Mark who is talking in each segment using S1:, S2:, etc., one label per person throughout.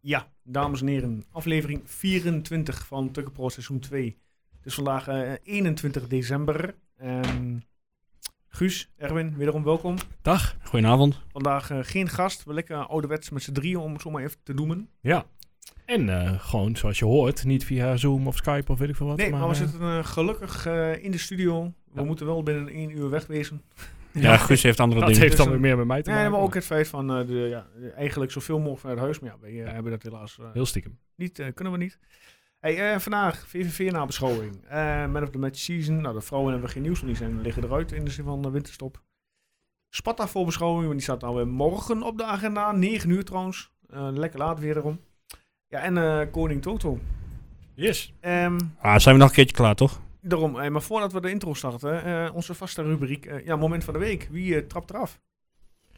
S1: Ja, dames en heren, aflevering 24 van Tukkenpro seizoen 2. Het is vandaag eh, 21 december. Ehm, Guus, Erwin, wederom welkom.
S2: Dag, goedenavond.
S1: Vandaag eh, geen gast, we lekker ouderwets met z'n drieën om het zo maar even te doen.
S2: Ja. En eh, gewoon, zoals je hoort, niet via Zoom of Skype of weet ik veel wat.
S1: Nee, maar we
S2: eh,
S1: zitten eh, gelukkig eh, in de studio. We
S2: Ja.
S1: moeten wel binnen één uur wegwezen.
S3: Ja, Guus heeft andere
S2: dat
S3: dingen.
S2: heeft dan
S1: Dus,
S2: weer meer met mij te
S1: Nee,
S2: maken.
S1: maar ook het feit van eh, de, ja, eigenlijk zoveel mogelijk vanuit huis. Maar ja, wij eh, hebben dat helaas eh,
S2: Heel stiekem.
S1: Niet, eh, kunnen we niet. Hey, eh, vandaag VVV nabeschouwing. Eh man of the match season. Nou, de vrouwen hebben we geen nieuws, want die zijn, liggen eruit in de zin van de winterstop. Sparta voorbeschouwing, want die staat alweer morgen op de agenda. 9 uur trouwens. Eh, lekker laat weer erom. Ja, en eh, Koning Toto.
S2: Yes.
S1: Ehm,
S3: Ah, zijn we nog een keertje klaar, toch?
S1: daarom, eh, maar voordat we de intro starten, eh, onze vaste rubriek. eh, ja, moment van de week. Wie eh, trapt eraf?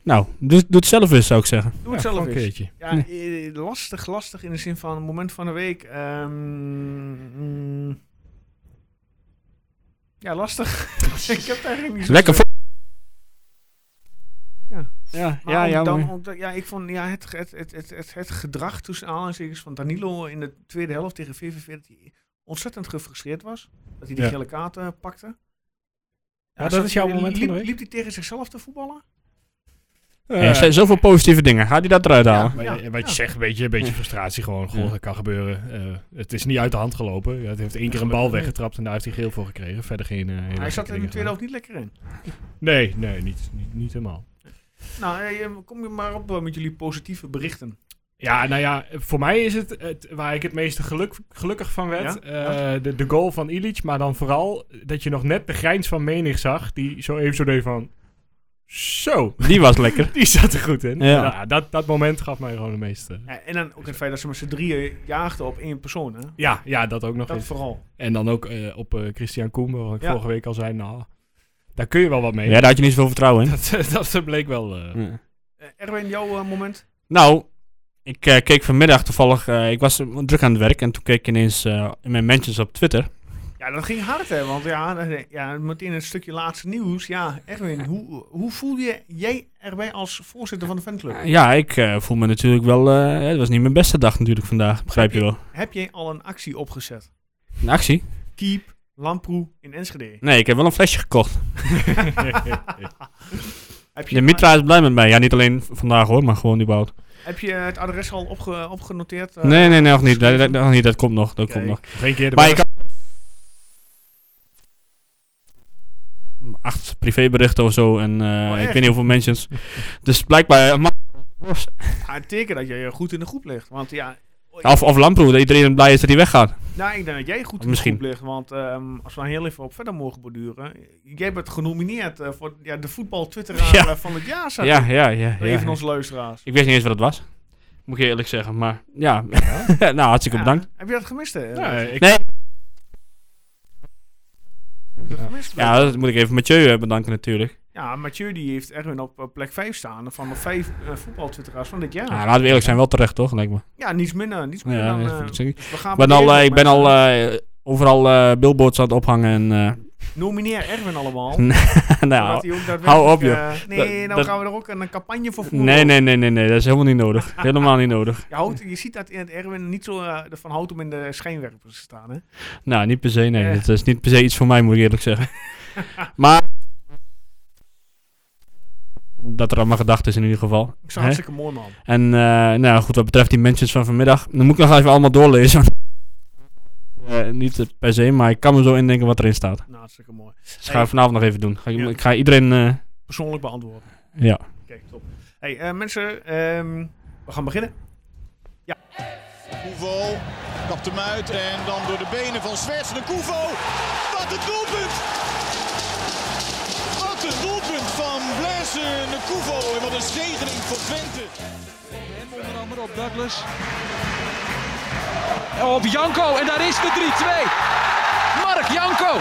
S3: Nou, doe, doe het zelf eens, zou ik zeggen.
S1: Doe het zelf
S2: een
S1: eens.
S2: keertje.
S1: Ja, eh, lastig, lastig in de zin van moment van de week. Ehm, mm. ja, lastig. ik heb daar geen iets
S3: Lekker
S1: tussen.
S3: voor.
S1: Ja.
S3: Ja,
S1: Maar
S3: ja,
S1: ook
S3: ja.
S1: dan
S3: maar-
S1: ook dat- ja, ik vond ja, het, het, het, het, het, het gedrag tussen aanhalingstekens van Danilo in de tweede helft tegen VVV dat hij ontzettend gefrustreerd was. Dat hij die
S3: Ja.
S1: gele kaart eh, pakte. Ja,
S2: dat
S1: zat-
S2: is jouw moment van de
S1: liep,
S2: week?
S1: Liep hij tegen zichzelf te voetballen?
S3: Ja, er zijn zoveel positieve dingen. Ga die dat eruit halen?
S2: Eh, Maar
S1: Ja,
S2: je- wat
S1: ja.
S2: je zegt, een beetje, een beetje
S3: Ja.
S2: frustratie gewoon. Goh,
S3: Ja.
S2: dat kan gebeuren. Eh, het is niet uit de hand gelopen. Ja, het heeft één keer een bal weggetrapt en daar heeft hij geel voor gekregen. Verder geen... eh, hele
S1: hij
S2: gekke
S1: zat er in de tweede
S2: dingen gedaan.
S1: helft niet lekker in.
S2: Nee, nee, niet, niet, niet helemaal.
S1: Nou, eh, kom je maar op eh, met jullie positieve berichten.
S2: Ja, nou ja, voor mij is het, het waar ik het meeste geluk, gelukkig van werd.
S1: Ja? Ja.
S2: eh, de, de goal van Illich, maar dan vooral dat je nog net de grijns van Menig zag. Die zo even zo deed van, zo,
S3: Die was lekker.
S2: die zat er goed in.
S3: Ja.
S2: dat, dat moment gaf mij gewoon de meeste.
S1: Ja, en dan ook het feit dat ze met z'n drieën jaagden op één persoon. Hè?
S2: Ja, ja, dat ook nog
S1: Dat
S2: eens.
S1: vooral.
S2: En dan ook eh, op eh, Christian Koen, waar ik
S1: Ja.
S2: vorige week al zei, nou, daar kun je wel wat mee.
S3: Ja, Mm. daar had je niet zoveel vertrouwen in.
S2: dat, dat bleek wel... eh,
S3: Ja.
S1: Eh, Erwin, jouw eh, moment?
S3: Nou, ik eh, keek vanmiddag toevallig... eh, ik was eh, druk aan het werk en toen keek ik ineens eh, in mijn mentions op Twitter.
S1: Ja, dat ging hard, hè? Want ja, eh, ja meteen een stukje laatste nieuws. Ja, Erwin, hoe, hoe voel je jij erbij als voorzitter van de fanclub?
S3: ja, ik eh, voel me natuurlijk wel... eh, het was niet mijn beste dag natuurlijk vandaag, begrijp je wel.
S1: Heb jij al een actie opgezet?
S3: Een actie?
S1: Keep Lamproe in Enschede.
S3: Nee, ik heb wel een flesje gekocht.
S1: Heb je,
S3: De Mitra is blij met mij. Ja, niet alleen v- vandaag hoor, maar gewoon überhaupt.
S1: heb je het adres al opge, opgenoteerd? eh?
S3: Nee, nee, nee, nog niet. Dat, dat- nog niet. dat komt nog, dat
S1: Kijk.
S3: komt nog.
S2: nog één keer de
S3: Maar je kan... Acht privéberichten of zo en eh,
S1: Oh, echt?
S3: ik weet niet hoeveel mentions. dus blijkbaar... eh, ma-
S1: Ah, het teken dat jij eh, goed in de groep ligt. Want ja,
S3: Of, of Lamproe, dat iedereen blij is dat hij weggaat.
S1: nou, ik denk dat jij goed in
S3: Misschien.
S1: de groep ligt. Want ehm, als we nou heel even op verder mogen borduren. Jij bent genomineerd eh, voor ja, de voetbal-twitteraar
S3: Ja.
S1: eh, van het jaar.
S3: Ja,
S1: zag
S3: ja, ja. ja,
S1: Even onze luisteraars.
S3: Ik wist niet eens wat het was. Moet ik je eerlijk zeggen, maar ja. nou, hartstikke
S1: Ja,
S3: bedankt.
S1: Heb je dat gemist? Hè?
S2: Ja,
S1: Heb
S2: ik-
S3: Nee.
S1: je dat gemist?
S3: Ja, dat moet ik even Mathieu eh, bedanken natuurlijk.
S1: ja, Mathieu die heeft Erwin op eh, plek 5 staan van de vijf eh, voetbaltwitteraars van dit jaar.
S3: Ja, laten we eerlijk zijn, wel terecht toch, lijkt me.
S1: Ja, niets minder. Niets minder
S3: Ja,
S1: dan,
S3: dat
S1: eh,
S3: vind ik zeker.
S1: dus we gaan
S3: Ik ben al,
S1: proberen
S3: eh, ik
S1: om,
S3: ben
S1: eh,
S3: al eh, overal eh, billboards aan het ophangen en... eh,
S1: Nomineer Erwin allemaal.
S3: Nee,
S1: zodat
S3: nou,
S1: hij ook daadwerkelijk,
S3: hou op, joh.
S1: eh, nee,
S3: Dat-
S1: nou
S3: dat-
S1: gaan we er ook een, een campagne voor voeren.
S3: nee, nee, nee, nee, nee, dat is helemaal niet nodig. Helemaal niet nodig.
S1: Je, houdt, je ziet dat in het Erwin niet zo eh, ervan houdt om in de schijnwerpers te staan. Hè?
S3: Nou, niet per se, nee.
S1: Eh.
S3: Dat is niet per se iets voor mij, moet ik eerlijk zeggen. maar... Dat er allemaal gedacht is in ieder geval.
S1: Ik
S3: Hè?
S1: zou hartstikke mooi man.
S3: En eh, nou goed, wat betreft die mentions van vanmiddag, dan moet ik nog even allemaal doorlezen. Eh, niet eh, per se, maar ik kan me zo indenken wat erin staat.
S1: Nou, hartstikke mooi.
S3: Dus dat ga ik vanavond nog even doen. Ga ik,
S1: Ja.
S3: ik ga iedereen... eh,
S1: Persoonlijk beantwoorden.
S3: ja.
S1: Kijk, top. Hey, eh, mensen, ehm, we gaan beginnen.
S4: Koevo kapt hem uit en dan door de benen van Zwerts de Koevo. Wat een doelpunt! Wat een doelpunt van Blaise de Koevo en wat een zegening voor Twente.
S5: En onder andere op Douglas. Oh, Op Janko en daar is de 3-2. Mark Janko.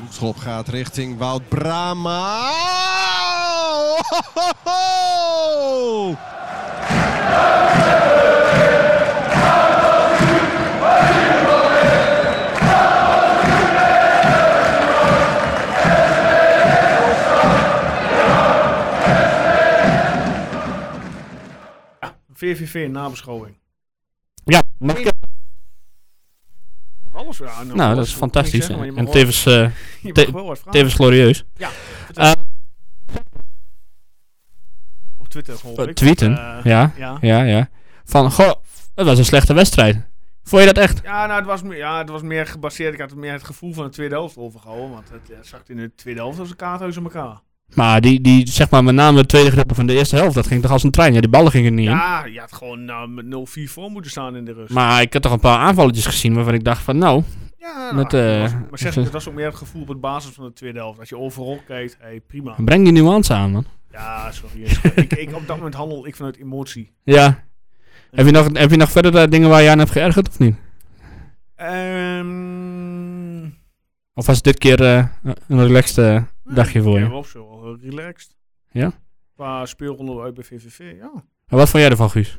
S4: Hoekschop gaat richting Wout Brama. Oh,
S1: VVV nabeschouwing.
S3: Ja, mag ik-
S1: Alles, ja,
S3: nou,
S1: alles,
S3: dat is
S1: moet ik niet
S3: fantastisch.
S1: zeggen, maar je mag
S3: en
S1: wel-
S3: tevens, eh,
S1: je
S3: te-
S1: mag wel wat vragen.
S3: tevens glorieus.
S1: Op Twitter geloof
S3: Op
S1: ik.
S3: tweeten,
S1: Eh,
S3: ja.
S1: ja.
S3: Ja, ja. Van, goh, dat was een slechte wedstrijd. Vond je dat echt?
S1: Ja, nou, het was, meer- ja, het was meer gebaseerd. Ik had meer het gevoel van de tweede helft overgehouden. Want het eh, zakt in de tweede helft als een kaarthuis aan elkaar.
S3: Maar die, die, zeg maar, met name de tweede gedeelte van de eerste helft, dat ging toch als een trein. Ja, die ballen gingen er niet in.
S1: Ja, je had gewoon nou, met 0-4 voor moeten staan in de rust.
S3: Maar ik had toch een paar aanvalletjes gezien waarvan ik dacht van, nou,
S1: ja,
S3: met,
S1: dat
S3: eh,
S1: was- maar zeg, dat was ook meer het gevoel op het basis van de tweede helft. Als je overal kijkt, hey, prima.
S3: breng die nuance aan, man.
S1: Ja, sorry. jongens. ik, ik, op dat moment handel ik vanuit emotie.
S3: Ja. Heb je nog, heb je nog verder eh, dingen waar je aan hebt geërgerd of niet?
S1: Ehm
S3: Of was dit keer eh, een relaxed eh, dagje voor
S1: ja,
S3: je?
S1: wel zo, wel relaxed.
S3: Ja?
S1: Qua speelronde uit bij VVV, ja.
S3: En wat vond jij ervan, Guus?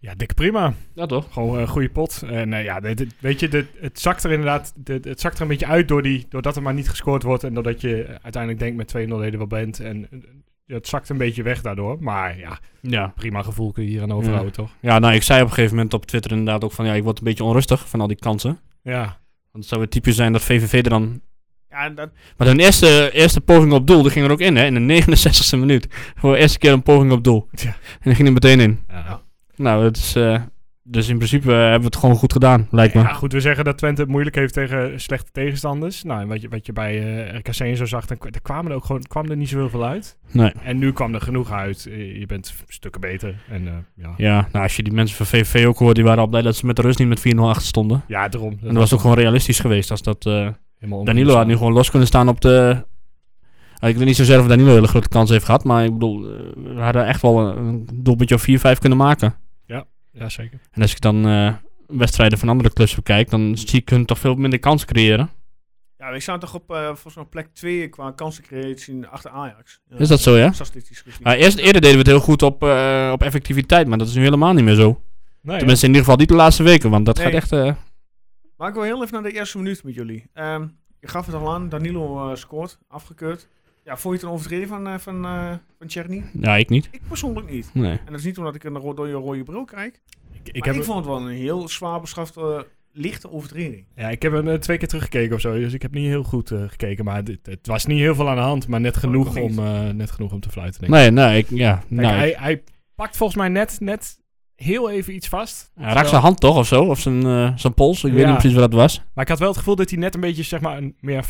S2: Ja, dik prima.
S3: Ja, toch?
S2: Gewoon een goede pot. En eh, ja, dit- dit- weet je, dit, het zakt er inderdaad dit- het zakt er een beetje uit door die, doordat er maar niet gescoord wordt. En doordat je eh, uiteindelijk denkt met 2-0 leden wel bent. En eh, het zakt een beetje weg daardoor. Maar ja,
S3: Ja.
S2: prima gevoel kun je hier aan overhouden, toch?
S3: Ja, nou, ik zei op een gegeven moment op Twitter inderdaad ook van, ja, ik word een beetje onrustig van al die kansen.
S2: Ja.
S3: Want het zou weer typisch zijn dat VVV er dan...
S1: Ja, dat,
S3: Maar hun eerste, eerste poging op doel, die ging er ook in, hè? In de 69e minuut. Voor de eerste keer een poging op doel.
S2: Ja.
S3: En die ging er meteen in.
S2: ja.
S3: Nou, het is... eh, dus in principe eh, hebben we het gewoon goed gedaan, lijkt me.
S2: Ja, goed, we zeggen dat Twente het moeilijk heeft tegen slechte tegenstanders. Nou, en wat je, wat je bij eh RKC en zo zag, dan, k- er kwamen er ook gewoon, kwam er niet zoveel veel uit.
S3: Nee.
S2: En nu kwam er genoeg uit. Eh, Je bent stukken beter. En eh, ja.
S3: Ja, nou, als je die mensen van VVV ook hoort, die waren al blij dat ze met de rust niet met 4-0 achter stonden.
S2: ja, daarom. Dat
S3: En dat was ook gewoon realistisch geweest. Als dat, eh,
S2: helemaal
S3: Danilo had nu gewoon los kunnen staan op de... Ah, Ik weet niet zozeer of Danilo een hele grote kans heeft gehad, maar ik bedoel, eh, we hadden echt wel een, een doelpuntje of 4-5 kunnen maken.
S2: Ja, zeker.
S3: En als ik dan eh, wedstrijden van andere clubs bekijk, dan zie ik hun toch veel minder kansen creëren.
S1: ja, wij staan toch op eh, volgens mij plek 2 qua kansencreatie achter Ajax. Ja.
S3: Is dat zo, ja?
S1: Statistisch gezien.
S3: Maar eerst, eerder deden we het heel goed op, eh, op effectiviteit, maar dat is nu helemaal niet meer zo.
S2: Nee,
S3: Tenminste, in ieder geval niet de laatste weken, want dat
S1: Nee.
S3: gaat echt... eh,
S1: Maar ik wil heel even naar de eerste minuut met jullie. Ehm, je gaf het al aan, Danilo eh, scoort, afgekeurd. Ja, vond je het een overtreding van, eh van, eh van Tjerni?
S3: ja, ik niet.
S1: Ik persoonlijk niet.
S3: Nee.
S1: En dat is niet omdat ik een ro- door je rode bril kijk. Maar
S2: ik,
S1: ik,
S2: ik heb,
S1: vond het wel een heel zwaar beschafte, eh, lichte overtreding.
S2: ja, ik heb hem eh, twee keer teruggekeken of zo, dus ik heb niet heel goed eh, gekeken. Maar dit- het was niet heel veel aan de hand, maar net
S3: Oh,
S2: genoeg,
S1: ik ook niet.
S2: om, eh, net genoeg om te fluiten. Denk ik.
S3: Nee, nee, ik, ja.
S2: Kijk,
S3: nou, ik-
S2: hij, hij pakt volgens mij net, net heel even iets vast.
S3: hij raakt zijn hand toch, of zo? Of zijn, eh, zijn pols? Ik weet
S2: Ja.
S3: niet precies wat dat was.
S2: Maar ik had wel het gevoel dat hij net een beetje zeg maar, een meer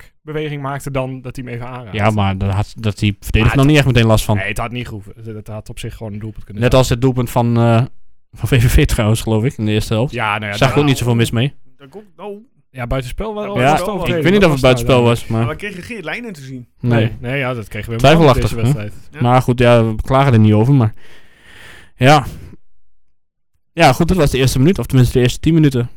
S2: vastpakbeweging maakte dan dat hij hem even aanraakt.
S3: Ja, maar dat had dat die verdediger
S2: Maar
S3: nog niet echt meteen last van.
S2: Nee, het had niet gehoeven. Het had op zich gewoon een doelpunt kunnen
S3: Net als het doelpunt van, eh, van VVV trouwens, geloof ik, in de eerste helft.
S2: zijn. Ja, nou ja,
S3: Zag ik ook
S1: nou.
S3: niet zoveel mis mee.
S1: Dat komt, nou,
S2: ja, buitenspel wel.
S1: Ja,
S2: of
S3: Ja,
S2: was het
S1: ik
S3: ik
S2: overtreding?
S3: weet niet
S2: Wat
S3: of het
S2: was nou
S3: buitenspel
S2: dan?
S3: was, maar
S1: maar we kregen geen lijnen te zien.
S3: nee.
S2: Nee, nee, ja, dat kregen we
S3: Twijfelachtig,
S2: Twijfelachtig, deze
S3: hè?
S2: wedstrijd.
S1: Ja.
S3: Maar goed, ja, we klagen er niet over, maar... Ja. Ja, goed, dat was de eerste minuut, of tenminste de eerste tien minuten.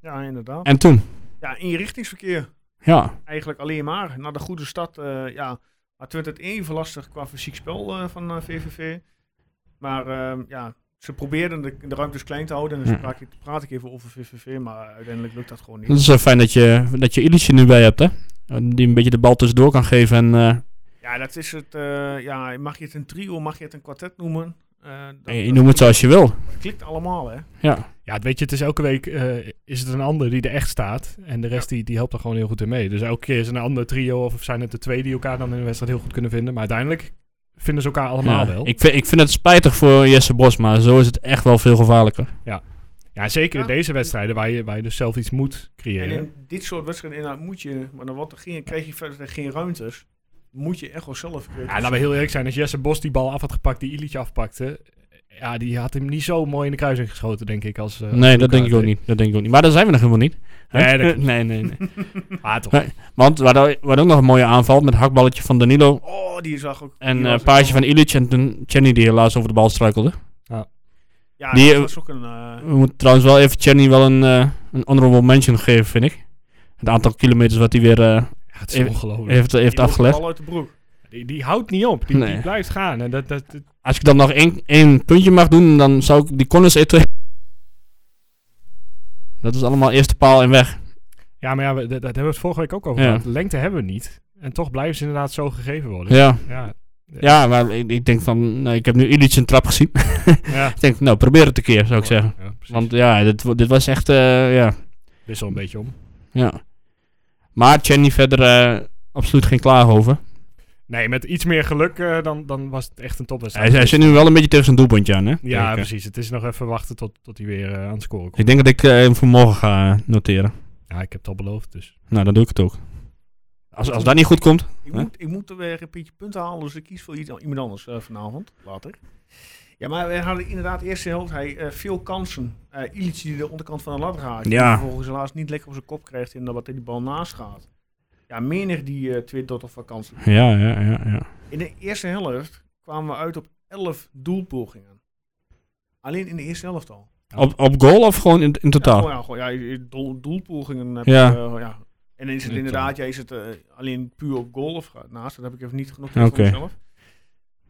S1: Ja, inderdaad.
S3: En toen?
S1: Ja, inrichtingsverkeer.
S3: Ja.
S1: Eigenlijk alleen maar. Naar de goede stad, eh, ja. Maar het werd het even lastig qua fysiek spel eh, van eh, VVV. Maar ehm, ja, ze probeerden de, de ruimtes klein te houden. En dan
S3: Ja.
S1: sprak ik, praat ik even over VVV, maar uiteindelijk lukt dat gewoon
S3: Het
S1: niet.
S3: is eh, fijn dat je, dat je Illich er nu bij hebt, hè. Eh, Die een beetje de bal tussendoor kan geven en... eh,
S1: Ja, dat is het. eh, ja, mag je het een trio, mag je het een kwartet noemen? Eh, dat-
S3: je noem het zoals je wil.
S1: dat klikt allemaal, hè?
S3: Ja.
S2: Ja, het weet je, het is elke week eh, is het een ander die er echt staat. En de rest die, die helpt er gewoon heel goed in mee. Dus elke keer is het een ander trio of zijn het de twee die elkaar dan in de wedstrijd heel goed kunnen vinden. Maar uiteindelijk vinden ze elkaar allemaal
S3: Ja.
S2: wel.
S3: Ik, vind, ik vind het spijtig voor Jesse Bos, maar zo is het echt wel veel gevaarlijker.
S2: ja, zeker in
S1: Ja.
S2: deze wedstrijden waar je, waar je dus zelf iets moet
S1: En
S2: creëren.
S1: in dit soort wedstrijden inderdaad moet je, maar dan wat er geen, krijg je verder geen ruimtes. Moet je echt wel zelf.
S2: Ja, laten
S3: nou,
S2: we heel eerlijk zijn. Als Jesse Bos die bal af had gepakt, die Ilitje afpakte. Ja, die had hem niet zo mooi in de kruising geschoten, denk ik. Als, eh, als
S3: Nee,
S2: Luca
S3: dat denk ik
S2: het
S3: ook niet. Dat denk ik ook niet. Maar daar zijn we nog helemaal niet. Hè?
S2: Nee, dat klopt.
S3: nee, nee, nee.
S2: deed. Ah, toch.
S3: Nee. Want we hadden, we hadden ook nog een mooie aanval met het hakballetje van Danilo.
S1: Oh, die zag ook.
S3: En
S1: die
S3: een
S1: was
S3: paasje
S1: ook-
S3: van Ilic en toen Chenny die helaas over de bal struikelde.
S1: Ja,
S3: die-
S1: dat was ook een. eh,
S3: We moeten trouwens wel even Chenny wel een, eh, een honorable mention geven, vind ik. Het aantal kilometers wat hij weer eh,
S2: Ja, het is
S3: Even-
S2: ongelooflijk.
S3: heeft, heeft
S1: die was de
S3: afgelegd.
S1: bal uit de broek.
S2: Die, die houdt niet op. Die,
S3: Nee.
S2: die blijft gaan. En dat, dat, dat-
S3: Als ik dan nog één, één puntje mag doen, dan zou ik die Connors eten. Dat is allemaal eerste paal en weg.
S2: ja, maar ja, we, dat, dat hebben we het vorige week ook over
S3: Ja.
S2: gehad. Lengte hebben we niet. En toch blijven ze inderdaad zo gegeven worden.
S3: Ja,
S2: Ja,
S3: Ja, maar ik, ik denk van, nou, ik heb nu Illich een trap gezien.
S2: Ja,
S3: ik denk, nou, probeer het een keer, zou ik zeggen.
S2: ja precies.
S3: Want ja, dit, wa- dit was echt, eh, ja,
S2: Wissel een beetje om.
S3: ja. Maar Chenny verder eh, absoluut geen klaag over.
S2: Nee, met iets meer geluk eh, dan, dan was het echt een topwedstrijd. Dus-
S3: Hij, hij zit nu wel een beetje tegen zijn doelpuntje aan, hè?
S2: ja,
S3: Kijk, eh,
S2: precies. Het is nog even wachten tot, tot hij weer eh, aan het scoren komt.
S3: Ik denk dat ik eh, hem voor morgen ga eh, noteren.
S2: Ja, ik heb het al beloofd, dus.
S3: Nou, dan doe ik het ook. Als, als dat niet goed komt.
S1: Ik,
S3: Hè?
S1: moet, ik moet er weer een beetje punten halen, dus ik kies voor iets, iemand anders eh, vanavond, later. Ja, maar we hadden inderdaad de eerste helft hij, eh, veel kansen. Eh Illich die de onderkant van de lat raakt.
S3: Ja.
S1: Die vervolgens helaas niet lekker op zijn kop krijgt en dan wat in die bal naast gaat. Ja, menig die eh twee tot of van kansen.
S3: Ja, ja, ja. ja.
S1: In de eerste helft kwamen we uit op 11 doelpogingen. Alleen in de eerste helft al.
S3: Op, op goal of gewoon in, in
S1: Ja,
S3: totaal?
S1: gewoon, ja, gewoon, ja, je- doel- doelpogingen heb
S3: Ja.
S1: je, eh, ja. En dan is het
S2: Ja,
S1: inderdaad, jij is het eh, alleen puur op goal of ga- naast. Dat heb ik even niet genoteerd
S3: Oké.
S1: voor mezelf.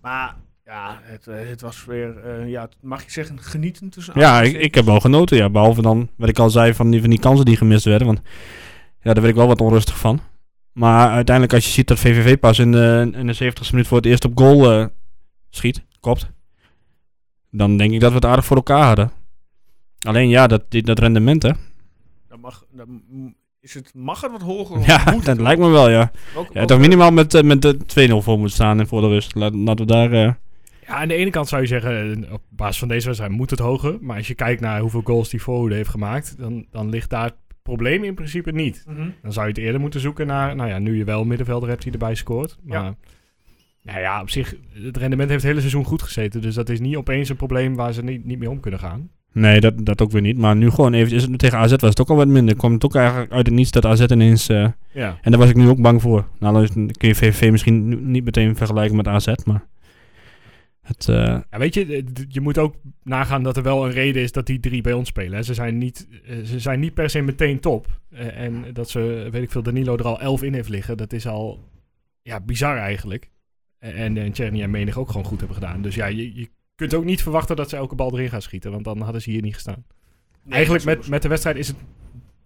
S1: Maar ja, het, eh, het was weer, eh, ja, het mag je zeggen, genieten tussen
S3: Ja, ik,
S1: aanhalingstekens.
S3: ik heb wel genoten. Ja. Behalve dan wat ik al zei van die, van die kansen die gemist werden. Want ja, daar werd ik wel wat onrustig van. Maar uiteindelijk als je ziet dat VVV pas in de, in de 70ste minuut voor het eerst op goal eh, schiet, kopt. Dan denk ik dat we het aardig voor elkaar hadden. Alleen ja, dat, die- dat rendement hè.
S1: Dat mag, dat m- is het, mag het wat hoger? of
S3: Ja,
S1: moet
S3: dat
S1: het
S3: lijkt me wel ja.
S1: Welke-
S3: ja toch minimaal met, eh, met de 2-0 voor moet staan en voor de rust. Laat- Laten we daar... eh,
S2: Ja, aan de ene kant zou je zeggen, eh, op basis van deze wedstrijd moet het hoger. Maar als je kijkt naar hoeveel goals die voorhoede heeft gemaakt, dan, dan ligt daar het probleem in principe niet.
S1: Mhm.
S2: Dan zou je het eerder moeten zoeken naar, nou ja, nu je wel een middenvelder hebt die erbij scoort. Maar, nou ja, op zich, het rendement heeft het hele seizoen goed gezeten. Dus dat is niet opeens een probleem waar ze niet, niet mee om kunnen gaan.
S3: Nee, dat, dat ook weer niet. Maar nu gewoon even. Is het, tegen AZ was het ook al wat minder. Kwam het ook eigenlijk uit het niets dat AZ ineens. eh,
S2: Ja.
S3: en daar was ik nu ook bang voor. Nou, dan is- dan kun je VVV misschien nu- niet meteen vergelijken met AZ. Maar. Het, eh,
S2: ja, weet je, d- d- je moet ook nagaan dat er wel een reden is dat die drie bij ons spelen. Hè. Ze zijn niet, eh, ze zijn niet per se meteen top. Eh, en dat ze, weet ik veel, Danilo er al elf in heeft liggen, dat is al ja, bizar eigenlijk. En, en, en Tjerni en Menig ook gewoon goed hebben gedaan. Dus ja, je, je kunt ook niet verwachten dat ze elke bal erin gaan schieten, want dan hadden ze hier niet gestaan.
S1: Nee,
S2: Eigenlijk
S1: dat is
S2: met, met de wedstrijd is het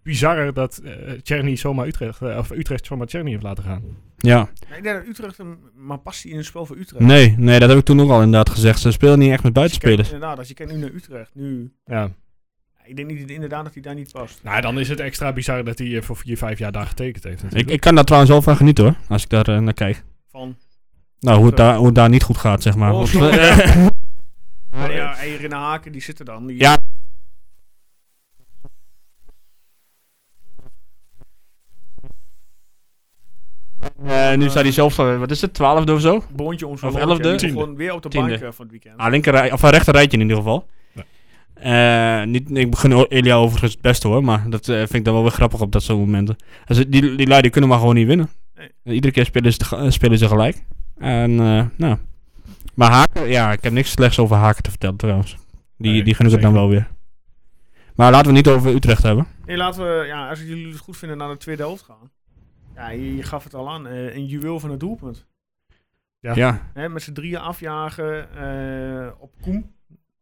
S2: bizarrer dat eh Tjerni zomaar Utrecht, eh, of Utrecht zomaar Tjerni heeft laten gaan.
S3: ja.
S1: ook zo. Nee, ik denk dat Utrecht, hem- maar past hij in het spel voor Utrecht?
S3: Nee, nee, dat heb ik toen ook al inderdaad gezegd. Ze spelen niet echt met
S1: Als je kijkt-
S3: buitenspelers.
S1: Inderdaad, als je kijkt nu naar Utrecht, nu...
S2: Ja.
S1: Ik denk niet, inderdaad dat hij daar niet past.
S2: Nou, dan is het extra bizar dat hij eh, voor vier, vijf jaar daar getekend heeft
S3: Ik,
S2: natuurlijk.
S3: ik kan daar trouwens wel van genieten hoor. Als ik daar eh, naar kijk.
S1: Van,
S3: Nou, hoe het, daar, hoe het daar niet goed gaat, zeg maar.
S1: Oh,
S3: Of-
S1: sorry.
S3: eh,
S1: Nou ja, en Rina Haken, die zitten dan. Die,
S3: Ja. eh, nu staat hij zelf, eh, wat is het, twaalfde of zo?
S1: boontje om zo'n
S3: Of
S1: loontje.
S3: elfde?
S1: Die
S3: Tiende.
S1: Gewoon weer op de
S3: Tiende.
S1: bank eh, van het weekend.
S3: Ah, linker rij, of een rechter rijtje in ieder geval.
S2: Ja.
S3: Eh, niet, ik begin o- Elia overigens het beste hoor, maar dat eh, vind ik dan wel weer grappig op dat soort momenten. Also, die, die lui die kunnen maar gewoon niet winnen.
S1: Nee.
S3: Iedere keer spelen ze, tege- eh, spelen ze gelijk. En, eh, nou. Maar Haken, ja, ik heb niks slechts over Haken te vertellen trouwens. Die,
S2: Nee,
S3: die gun ik het dan
S2: zeker.
S3: wel weer. Maar laten we het niet over Utrecht hebben.
S1: Nee, laten we, ja, als jullie het goed vinden, naar de tweede helft gaan. Ja, je, je gaf het al aan. eh, een juweel van het doelpunt.
S2: Ja.
S3: Ja,
S1: Hè, met z'n drieën afjagen eh, op Koem.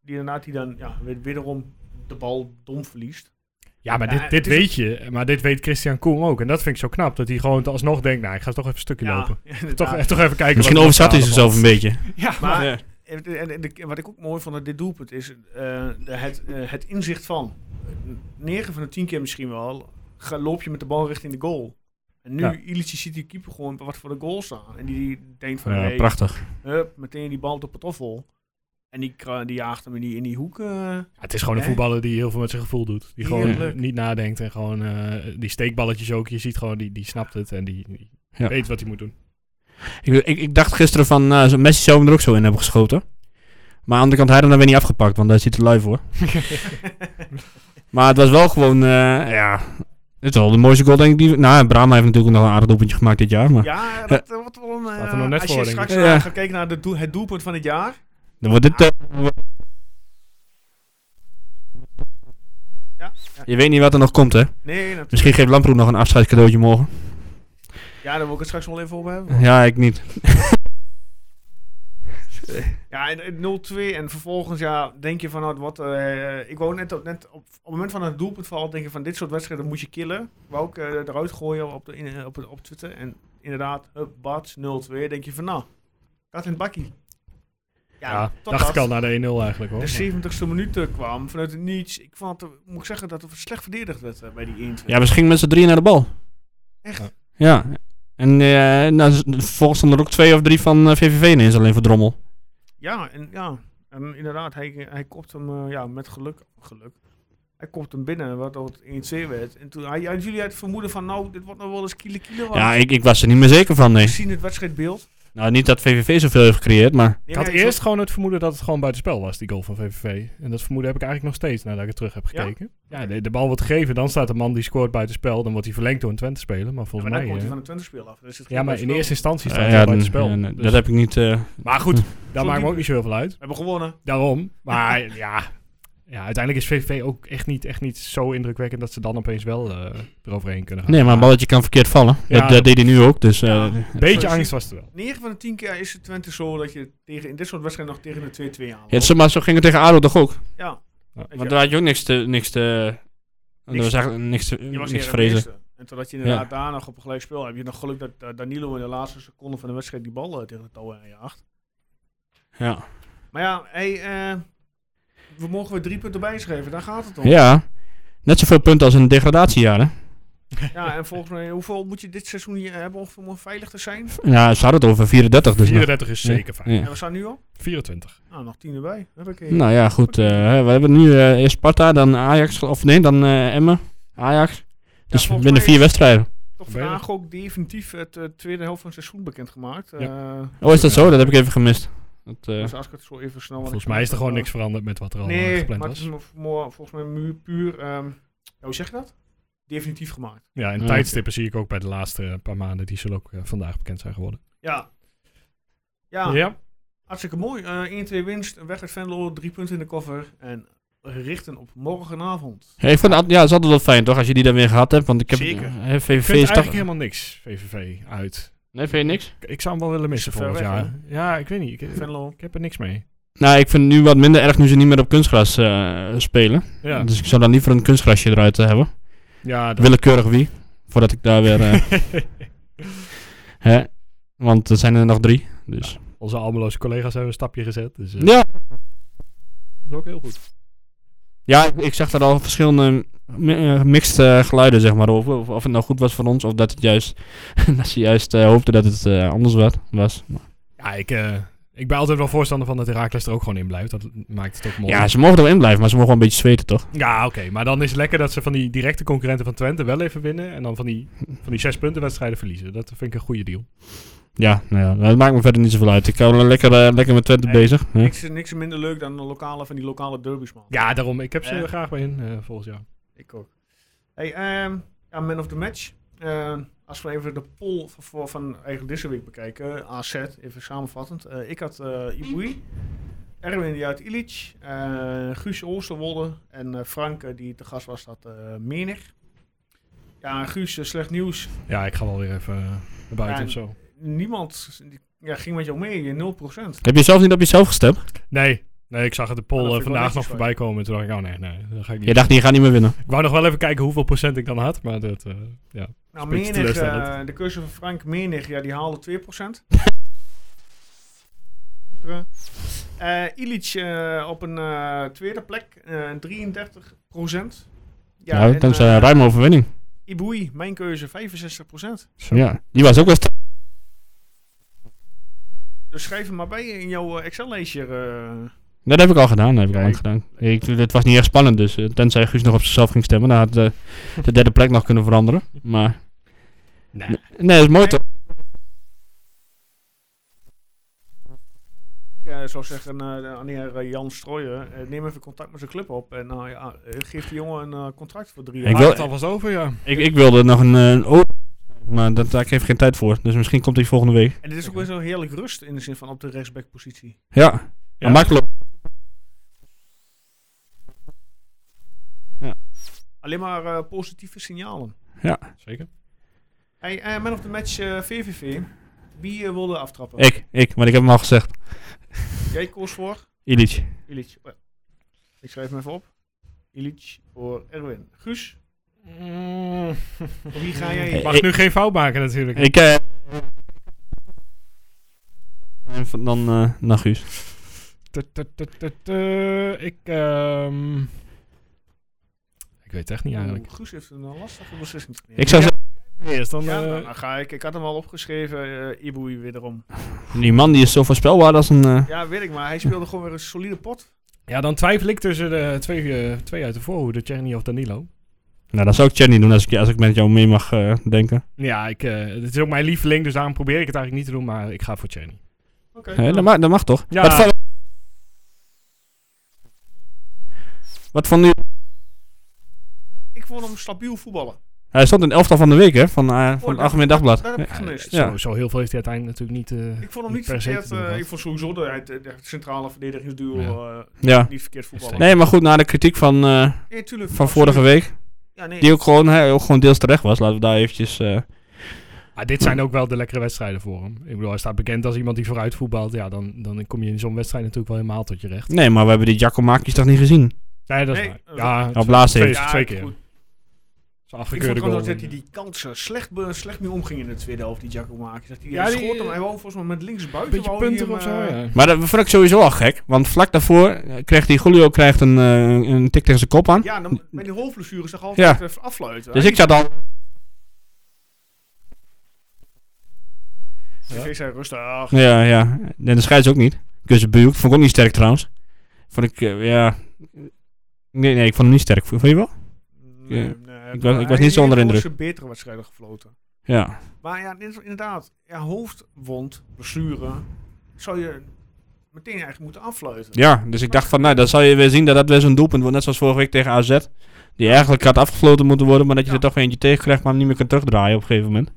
S1: Die inderdaad die dan ja, weer- wederom de bal dom verliest.
S2: Ja, maar
S1: Ja,
S2: dit,
S1: het
S2: dit
S1: is-
S2: weet je. Maar dit weet Christian Koen ook. En dat vind ik zo knap. Dat hij gewoon alsnog denkt, nou, ik ga toch even een stukje lopen. Toch,
S1: inderdaad.
S2: eh, toch even kijken.
S3: misschien
S2: wat er
S3: overzat hij
S2: allemaal-
S3: zichzelf een beetje.
S2: Ja, maar...
S1: Maar
S3: Ja.
S1: en, en- en- en wat ik ook mooi vond aan dit doelpunt is eh, het, eh, het inzicht van. 9 van de 10 keer misschien wel ga, loop je met de bal richting de goal. En nu,
S2: Ja.
S1: Illich ziet die keeper gewoon wat voor de goal staan. En die denkt van,
S3: Ja,
S1: hey,
S3: prachtig.
S1: hup, meteen die bal op het toffel. En die, kra- die jaagt hem in die, in die hoek. eh.
S2: Ja, het is gewoon een
S1: Hè?
S2: voetballer die heel veel met zijn gevoel doet. Die gewoon
S1: Heerlijk.
S2: niet nadenkt. En gewoon eh, die steekballetjes ook. Je ziet gewoon, die, die snapt het. En die, die
S3: Ja.
S2: weet wat hij moet doen.
S3: Ik, ik, ik dacht gisteren van eh, zo- Messi zou hem er ook zo in hebben geschoten. Maar aan de andere kant, hij had hem dan weer niet afgepakt, want daar zit het live voor. maar het was wel gewoon, eh, ja, het is wel de mooiste goal denk ik. Die, nou, Brahma heeft natuurlijk nog een aardig doelpuntje gemaakt dit jaar, maar
S1: ja, dat eh, wordt wel een... eh,
S2: Staat er nog net
S1: als
S2: voor,
S1: je
S2: denk ik.
S1: straks
S3: Ja.
S1: eh, gaat kijken naar de doel- het doelpunt van het jaar.
S3: dan wordt dit... eh,
S1: Ja. ja.
S3: je weet niet wat er nog komt, hè.
S1: Nee, natuurlijk.
S3: Misschien geeft Lamproet nog een afscheidscadeautje morgen.
S1: Ja, daar wil ik het straks wel even op hebben.
S3: Ja, ik niet.
S1: Ja, en, en 0-2 en vervolgens ja, denk je van nou, wat... eh, ik wou net, op, net op, op het moment van het doelpuntval denk je van dit soort wedstrijden moet je killen. Wou ik eh, eruit gooien op, de, in- op, op Twitter. En inderdaad, hup, bats, 0-2. Denk je van nou, Gaat in het bakkie.
S2: Ja,
S1: totdat
S2: dacht ik al naar de 1-0 eigenlijk hoor.
S1: De 70ste minuut eh, kwam vanuit het niets. Ik vond, eh, moet ik zeggen, dat er slecht verdedigd werd eh, bij die 1
S3: Ja, we gingen met z'n drieën naar de bal.
S1: Echt?
S2: Ja.
S3: Ja. En eh nou, z- vervolgens stonden er ook twee of drie van eh, VVV ineens alleen voor Drommel.
S1: Ja, en, ja. en inderdaad, hij, hij kopt hem eh, ja, met geluk, geluk. Hij kopt hem binnen, wat het 1-2 werd. En toen hij, hij- jullie het vermoeden van, nou, dit wordt nog wel eens kiele kiele.
S3: Ja, ik, ik was er niet meer zeker van, nee.
S1: We zien het wedstrijdbeeld.
S3: Nou, niet dat VVV zoveel heeft gecreëerd, maar...
S1: Nee,
S2: Ik had
S1: maar
S2: eerst gewoon het vermoeden dat het gewoon buitenspel was, die goal van VVV. En dat vermoeden heb ik eigenlijk nog steeds nadat ik het terug heb
S1: Ja?
S2: gekeken. Ja, de, de bal wordt gegeven, dan staat de man die scoort buitenspel. Dan wordt hij verlengd door een Twente speler. Maar
S1: Ja,
S2: volgens
S1: maar dan
S2: mij.
S1: komt hij
S2: eh,
S1: van het Twente-speel af. Dus het
S2: ja, maar in eerste instantie staat
S3: eh,
S2: hij
S3: ja,
S2: buitenspel.
S3: eh, nee,
S2: Dus-
S3: Dat heb ik niet... eh,
S2: Maar goed, daar
S1: Zo
S2: maakt me
S1: diep-
S2: ook niet zoveel uit.
S1: We hebben gewonnen.
S2: Daarom. Maar ja, ja, uiteindelijk is VVV ook echt niet, echt niet zo indrukwekkend dat ze dan opeens wel eh, eroverheen kunnen gaan.
S3: nee, maar een balletje kan verkeerd vallen.
S2: Ja,
S3: dat, dat
S2: dat-
S3: deed hij nu ook, dus... eh,
S1: Ja.
S2: Een beetje
S1: Precies.
S2: angst was er wel.
S1: 9 van de 10 keer is het Twente zo dat je tegen, in dit soort wedstrijden nog tegen de 2-2 aan.
S3: ja, zo- maar zo ging het tegen ADO toch ook?
S1: ja.
S2: Ja,
S1: Weet
S3: Want
S1: je,
S3: daar had je ook niks te... Niks te
S1: Niks-
S3: er was eigenlijk niks, te-
S1: je was
S3: niks
S1: eerder
S3: te
S1: de
S3: vrezen.
S1: eerste. En totdat je inderdaad daar nog op een gelijk spel hebt. Je hebt nog geluk dat eh, Danilo in de laatste seconde van de wedstrijd die bal eh, tegen de touwen aan je acht.
S3: Ja.
S1: Maar ja, hey, eh, we mogen weer drie punten bijschrijven. Daar gaat het om.
S3: ja, net zoveel punten als in het degradatiejaar, hè?
S1: Ja, en volgens mij, hoeveel moet je dit seizoen hier hebben om- om veilig te zijn?
S3: Ja, ze hadden het over 34 dus. nog.
S2: 34 is zeker fijn.
S3: Ja.
S1: En we staan nu al?
S2: 24.
S1: Nou, nog tien erbij. Heb ik
S3: Nou ja, goed. eh, we hebben nu eh, eerst Sparta, dan Ajax. Of nee, dan eh, Emmen. Ajax. Dus
S1: volgens
S3: binnen
S1: mij
S3: vier
S1: is-
S3: wedstrijden.
S1: toch vandaag ook definitief het eh, tweede helft van het seizoen bekendgemaakt. Eh
S3: Oh, is dat zo? Dat heb ik even gemist. Dat, eh,
S1: dus als ik het zo even snel...
S2: Volgens mij is er gewoon niks veranderd met wat er al eh,
S1: Nee,
S2: gepland
S1: maar het is
S2: was.
S1: mo- mo- volgens mij mu- puur... ehm, ja, hoe zeg je dat? Definitief gemaakt.
S2: Ja, en
S3: Ah,
S2: tijdstippen zie ik ook bij de laatste eh, paar maanden. Die zullen ook eh, vandaag bekend zijn geworden.
S1: Ja. Ja, hartstikke mooi. Eh 1-2 winst, weg uit Venlo, drie punten in de koffer. En richten op morgenavond.
S3: ja, ik vond, het al- ja, het is altijd wel fijn toch, als je die dan weer gehad hebt. Want ik heb
S1: Zeker.
S3: eh,
S2: Ik
S3: VVV
S2: vind
S3: is
S2: eigenlijk
S3: toch...
S2: helemaal niks, VVV, uit.
S3: Nee, vind je niks?
S2: Ik- Ik zou hem wel willen missen
S1: Is het ver
S2: volgend
S1: weg,
S2: jaar. Ja, ik weet niet. Ik,
S1: Venlo.
S2: ik heb er niks mee.
S3: Nou, ik vind het nu wat minder erg nu ze niet meer op kunstgras eh, spelen.
S2: Ja,
S3: Dus ik zou dan liever een kunstgrasje eruit eh, hebben.
S2: ja dat-
S3: Willekeurig wie. Voordat ik daar weer... eh, hè? Want er zijn er nog drie. Dus.
S2: onze almeloze collega's hebben een stapje gezet. Dus eh,
S3: Ja,
S2: dat is ook heel goed.
S3: Ja, ik- ik zag daar al verschillende mi- eh, mixed eh, geluiden, zeg maar, over. Of, of het nou goed was voor ons, of dat, het juist, dat ze juist eh, hoopten dat het eh, anders werd, was.
S2: Ja, ik, eh, ik ben altijd wel voorstander van dat Herakles er ook gewoon in blijft. Dat maakt het ook mooi.
S3: Ja, ze mogen er wel in blijven, maar ze mogen wel een beetje zweten, toch?
S2: Ja, oké. Maar dan is het lekker dat ze van die directe concurrenten van Twente wel even winnen. En dan van die, van die zes punten wedstrijden verliezen. Dat vind ik een goede deal.
S3: Ja, nou ja, dat maakt me verder niet zoveel uit. Ik hou wel lekker, eh, lekker met Twente
S1: Nee,
S3: bezig. hè.
S1: Niks, niks minder leuk dan de lokale, van die lokale derbies, man.
S2: Ja, daarom. Ik heb ze
S1: Eh.
S2: er graag bij in eh, volgens jou.
S1: Ik ook. Hey, ehm, ja, man of the match. Ehm, als we even de poll van, voor- van eigenlijk deze week bekijken. eh, AZ, even samenvattend. Eh, ik had eh Ibui, Erwin die uit Illich, eh, Guus Oosterwolde en eh, Frank eh, die te gast was, dat eh Menig. Ja, Guus, eh, slecht nieuws.
S2: Ja, ik ga wel weer even eh, naar buiten
S1: Ja,
S2: of zo.
S1: Niemand die- ja, ging met jou mee, eh, 0%.
S3: Heb je zelf niet op jezelf gestemd?
S2: Nee, nee ik zag het de
S1: Maar
S2: poll
S1: Oh, dat
S2: eh,
S1: vind ik wel netjes
S2: vandaag nog
S1: van
S2: voorbij komen. Toen dacht ik, oh nee, nee, dat ga ik niet.
S3: Je dacht, die gaat niet meer winnen.
S2: Ik wou nog wel even kijken hoeveel procent ik dan had, maar dat... eh, ja.
S1: Nou,
S2: Beetje
S1: Menig,
S2: teleurstellend.
S1: eh, de keuze van Frank Menig, ja, die haalde 2%. Eh Illich eh, op een eh, tweede plek, eh 33%.
S3: Ja,
S1: en,
S3: dat is eh,
S1: eh,
S3: een ruime overwinning.
S1: Ibui, mijn keuze 65%.
S3: Ja, die was ook wel sterk.
S1: Dus schrijf hem maar bij in jouw eh, Excel-lijstje. eh.
S3: Dat heb ik al gedaan, dat heb ik al lang
S1: Kijk.
S3: gedaan. Ik, dit was niet echt spannend, dus eh, tenzij Guus nog op zichzelf ging stemmen, dan had eh, de derde plek nog kunnen veranderen. Maar...
S2: Nee.
S3: Nee, dat is mooi toch?
S1: Ja, zou zeggen eh, de- aan de heer eh, Jan Strooijen, eh, neem even contact met zijn club op. En nou ja, eh, geef die jongen een eh, contract voor drie jaar.
S3: Ik
S2: Ik
S3: wil-
S2: wil het alvast over, ja.
S3: Ik, ik wilde nog een, eh, een o- maar dat, daar heeft geen tijd voor. Dus misschien komt hij volgende week.
S1: En dit is ook weer zo'n heerlijk rust in de zin van op de rechtsbackpositie.
S3: Ja,
S2: Ja.
S3: ja. makkelijk.
S1: Alleen maar eh, positieve signalen.
S2: Zeker.
S1: Hey, eh, man of the match eh, VVV. Wie eh, wilde aftrappen?
S3: Ik, ik, maar ik heb hem al gezegd.
S1: Jij koos voor
S3: Illich.
S1: Illich. Oh, ja. Ik schrijf hem even op. Illich voor Erwin. Guus, voor wie ga jij?
S3: eh,
S2: Ik mag nu geen fout maken natuurlijk.
S3: Ik, eh, en en van- dan eh naar Guus.
S2: Tut, tut, tut, tut, eh, Ik, ehm, ik weet het echt niet eigenlijk.
S1: Oeh, Guus heeft een eh, lastige beslissing. te nemen.
S3: Ik zou zeggen,
S2: Eerst dan...
S1: ja,
S2: eh,
S1: nou, dan ga ik. Ik had hem al opgeschreven, eh Ibu weer erom.
S3: die man die is zo voorspelbaar als een... eh,
S1: Ja, weet ik, maar hij speelde gewoon weer een solide pot.
S2: ja, dan twijfel ik tussen de twee, eh, twee uit de voorhoede, Tjerni of Danilo.
S3: Nou, dan zou ik Chenny doen als ik, als ik met jou mee mag eh, denken.
S2: Ja, ik, eh, het is ook mijn lieveling, dus daarom probeer ik het eigenlijk niet te doen, maar ik ga voor Tjerni.
S1: Oké.
S3: Hè, dat, mag, dat mag toch?
S2: Ja.
S3: Wat van... Wat van nu...
S1: Ik vond hem stabiel voetballen.
S3: Hij stond in elftal van de week, hè? Van, eh, van het
S1: dat-
S3: Algemeen Dagblad.
S1: Dat heb ik gemist.
S3: Ja.
S2: Zo, zo heel veel heeft hij uiteindelijk natuurlijk niet... eh,
S1: Ik vond hem niet
S2: Per se te
S1: verkeerd.
S2: doen,
S1: eh,
S2: wat?
S1: ik vond sowieso de, het- het centrale verdedigingsduo eh,
S3: Ja.
S1: niet verkeerd voetballen.
S3: Nee, maar goed, na de kritiek van, eh,
S1: Nee, tuurlijk,
S3: van
S1: absoluut.
S3: vorige week,
S1: Ja, nee.
S3: die ook gewoon, hè, ook gewoon deels terecht was, laten we daar eventjes... eh,
S2: Maar dit zijn ook wel de lekkere wedstrijden voor hem. Ik bedoel, hij staat bekend als iemand die vooruit voetbalt. Ja, dan, dan kom je in zo'n wedstrijd natuurlijk wel helemaal tot je recht.
S3: Nee, maar we hebben die Giacomakis toch niet gezien?
S2: Nee, dat is
S1: Nee,
S2: waar.
S1: eh,
S2: Ja,
S3: Op laatste
S2: twee,
S3: heeft.
S2: twee
S1: ik
S2: keer.
S1: vond-
S2: Zo'n
S1: Ik vond
S2: afgekeurde
S1: gewoon
S2: goal.
S1: dat hij die kansen slecht, be- slecht mee omging in de tweede helft, die Giacomakis. Dat hij
S2: Ja,
S1: ja,
S2: die- eh,
S1: schoot hem, hij wou volgens mij met links buiten.
S2: Beetje
S1: wou hij
S2: punter
S1: hem,
S2: of zo,
S1: eh,
S2: ja.
S3: Maar dat vond ik sowieso al gek. Want vlak daarvoor eh, kreeg die Julio krijgt een, eh, een tik tegen zijn kop aan.
S1: Ja, dan, met die hoofdblessure zag altijd eh, afluiten.
S3: Dus ik zat al...
S1: Ja. Ik zei rustig.
S3: Ja, ja. En de scheids ook niet. Kussenbuuk. Vond ik ook niet sterk trouwens. Vond ik, eh, ja... Nee, nee, ik vond hem niet sterk. Vond je wel?
S1: mm, Nee, nee,
S3: Ik was- ik was
S1: hij
S3: niet zo
S1: heeft
S3: onder
S1: wel
S3: indruk.
S1: eens een betere wedstrijden gefloten.
S3: Ja.
S1: Maar ja, dit is inderdaad, ja, hoofdwond, blessure, zou je meteen eigenlijk moeten afluiten.
S3: Ja, dus ik dacht van, nou, dan zal je weer zien dat dat weer zo'n doelpunt wordt. Net zoals vorige week tegen AZ. Die eigenlijk had afgesloten moeten worden, maar dat je
S1: Ja.
S3: er toch eentje tegen krijgt, maar hem niet meer kunt terugdraaien op een gegeven moment.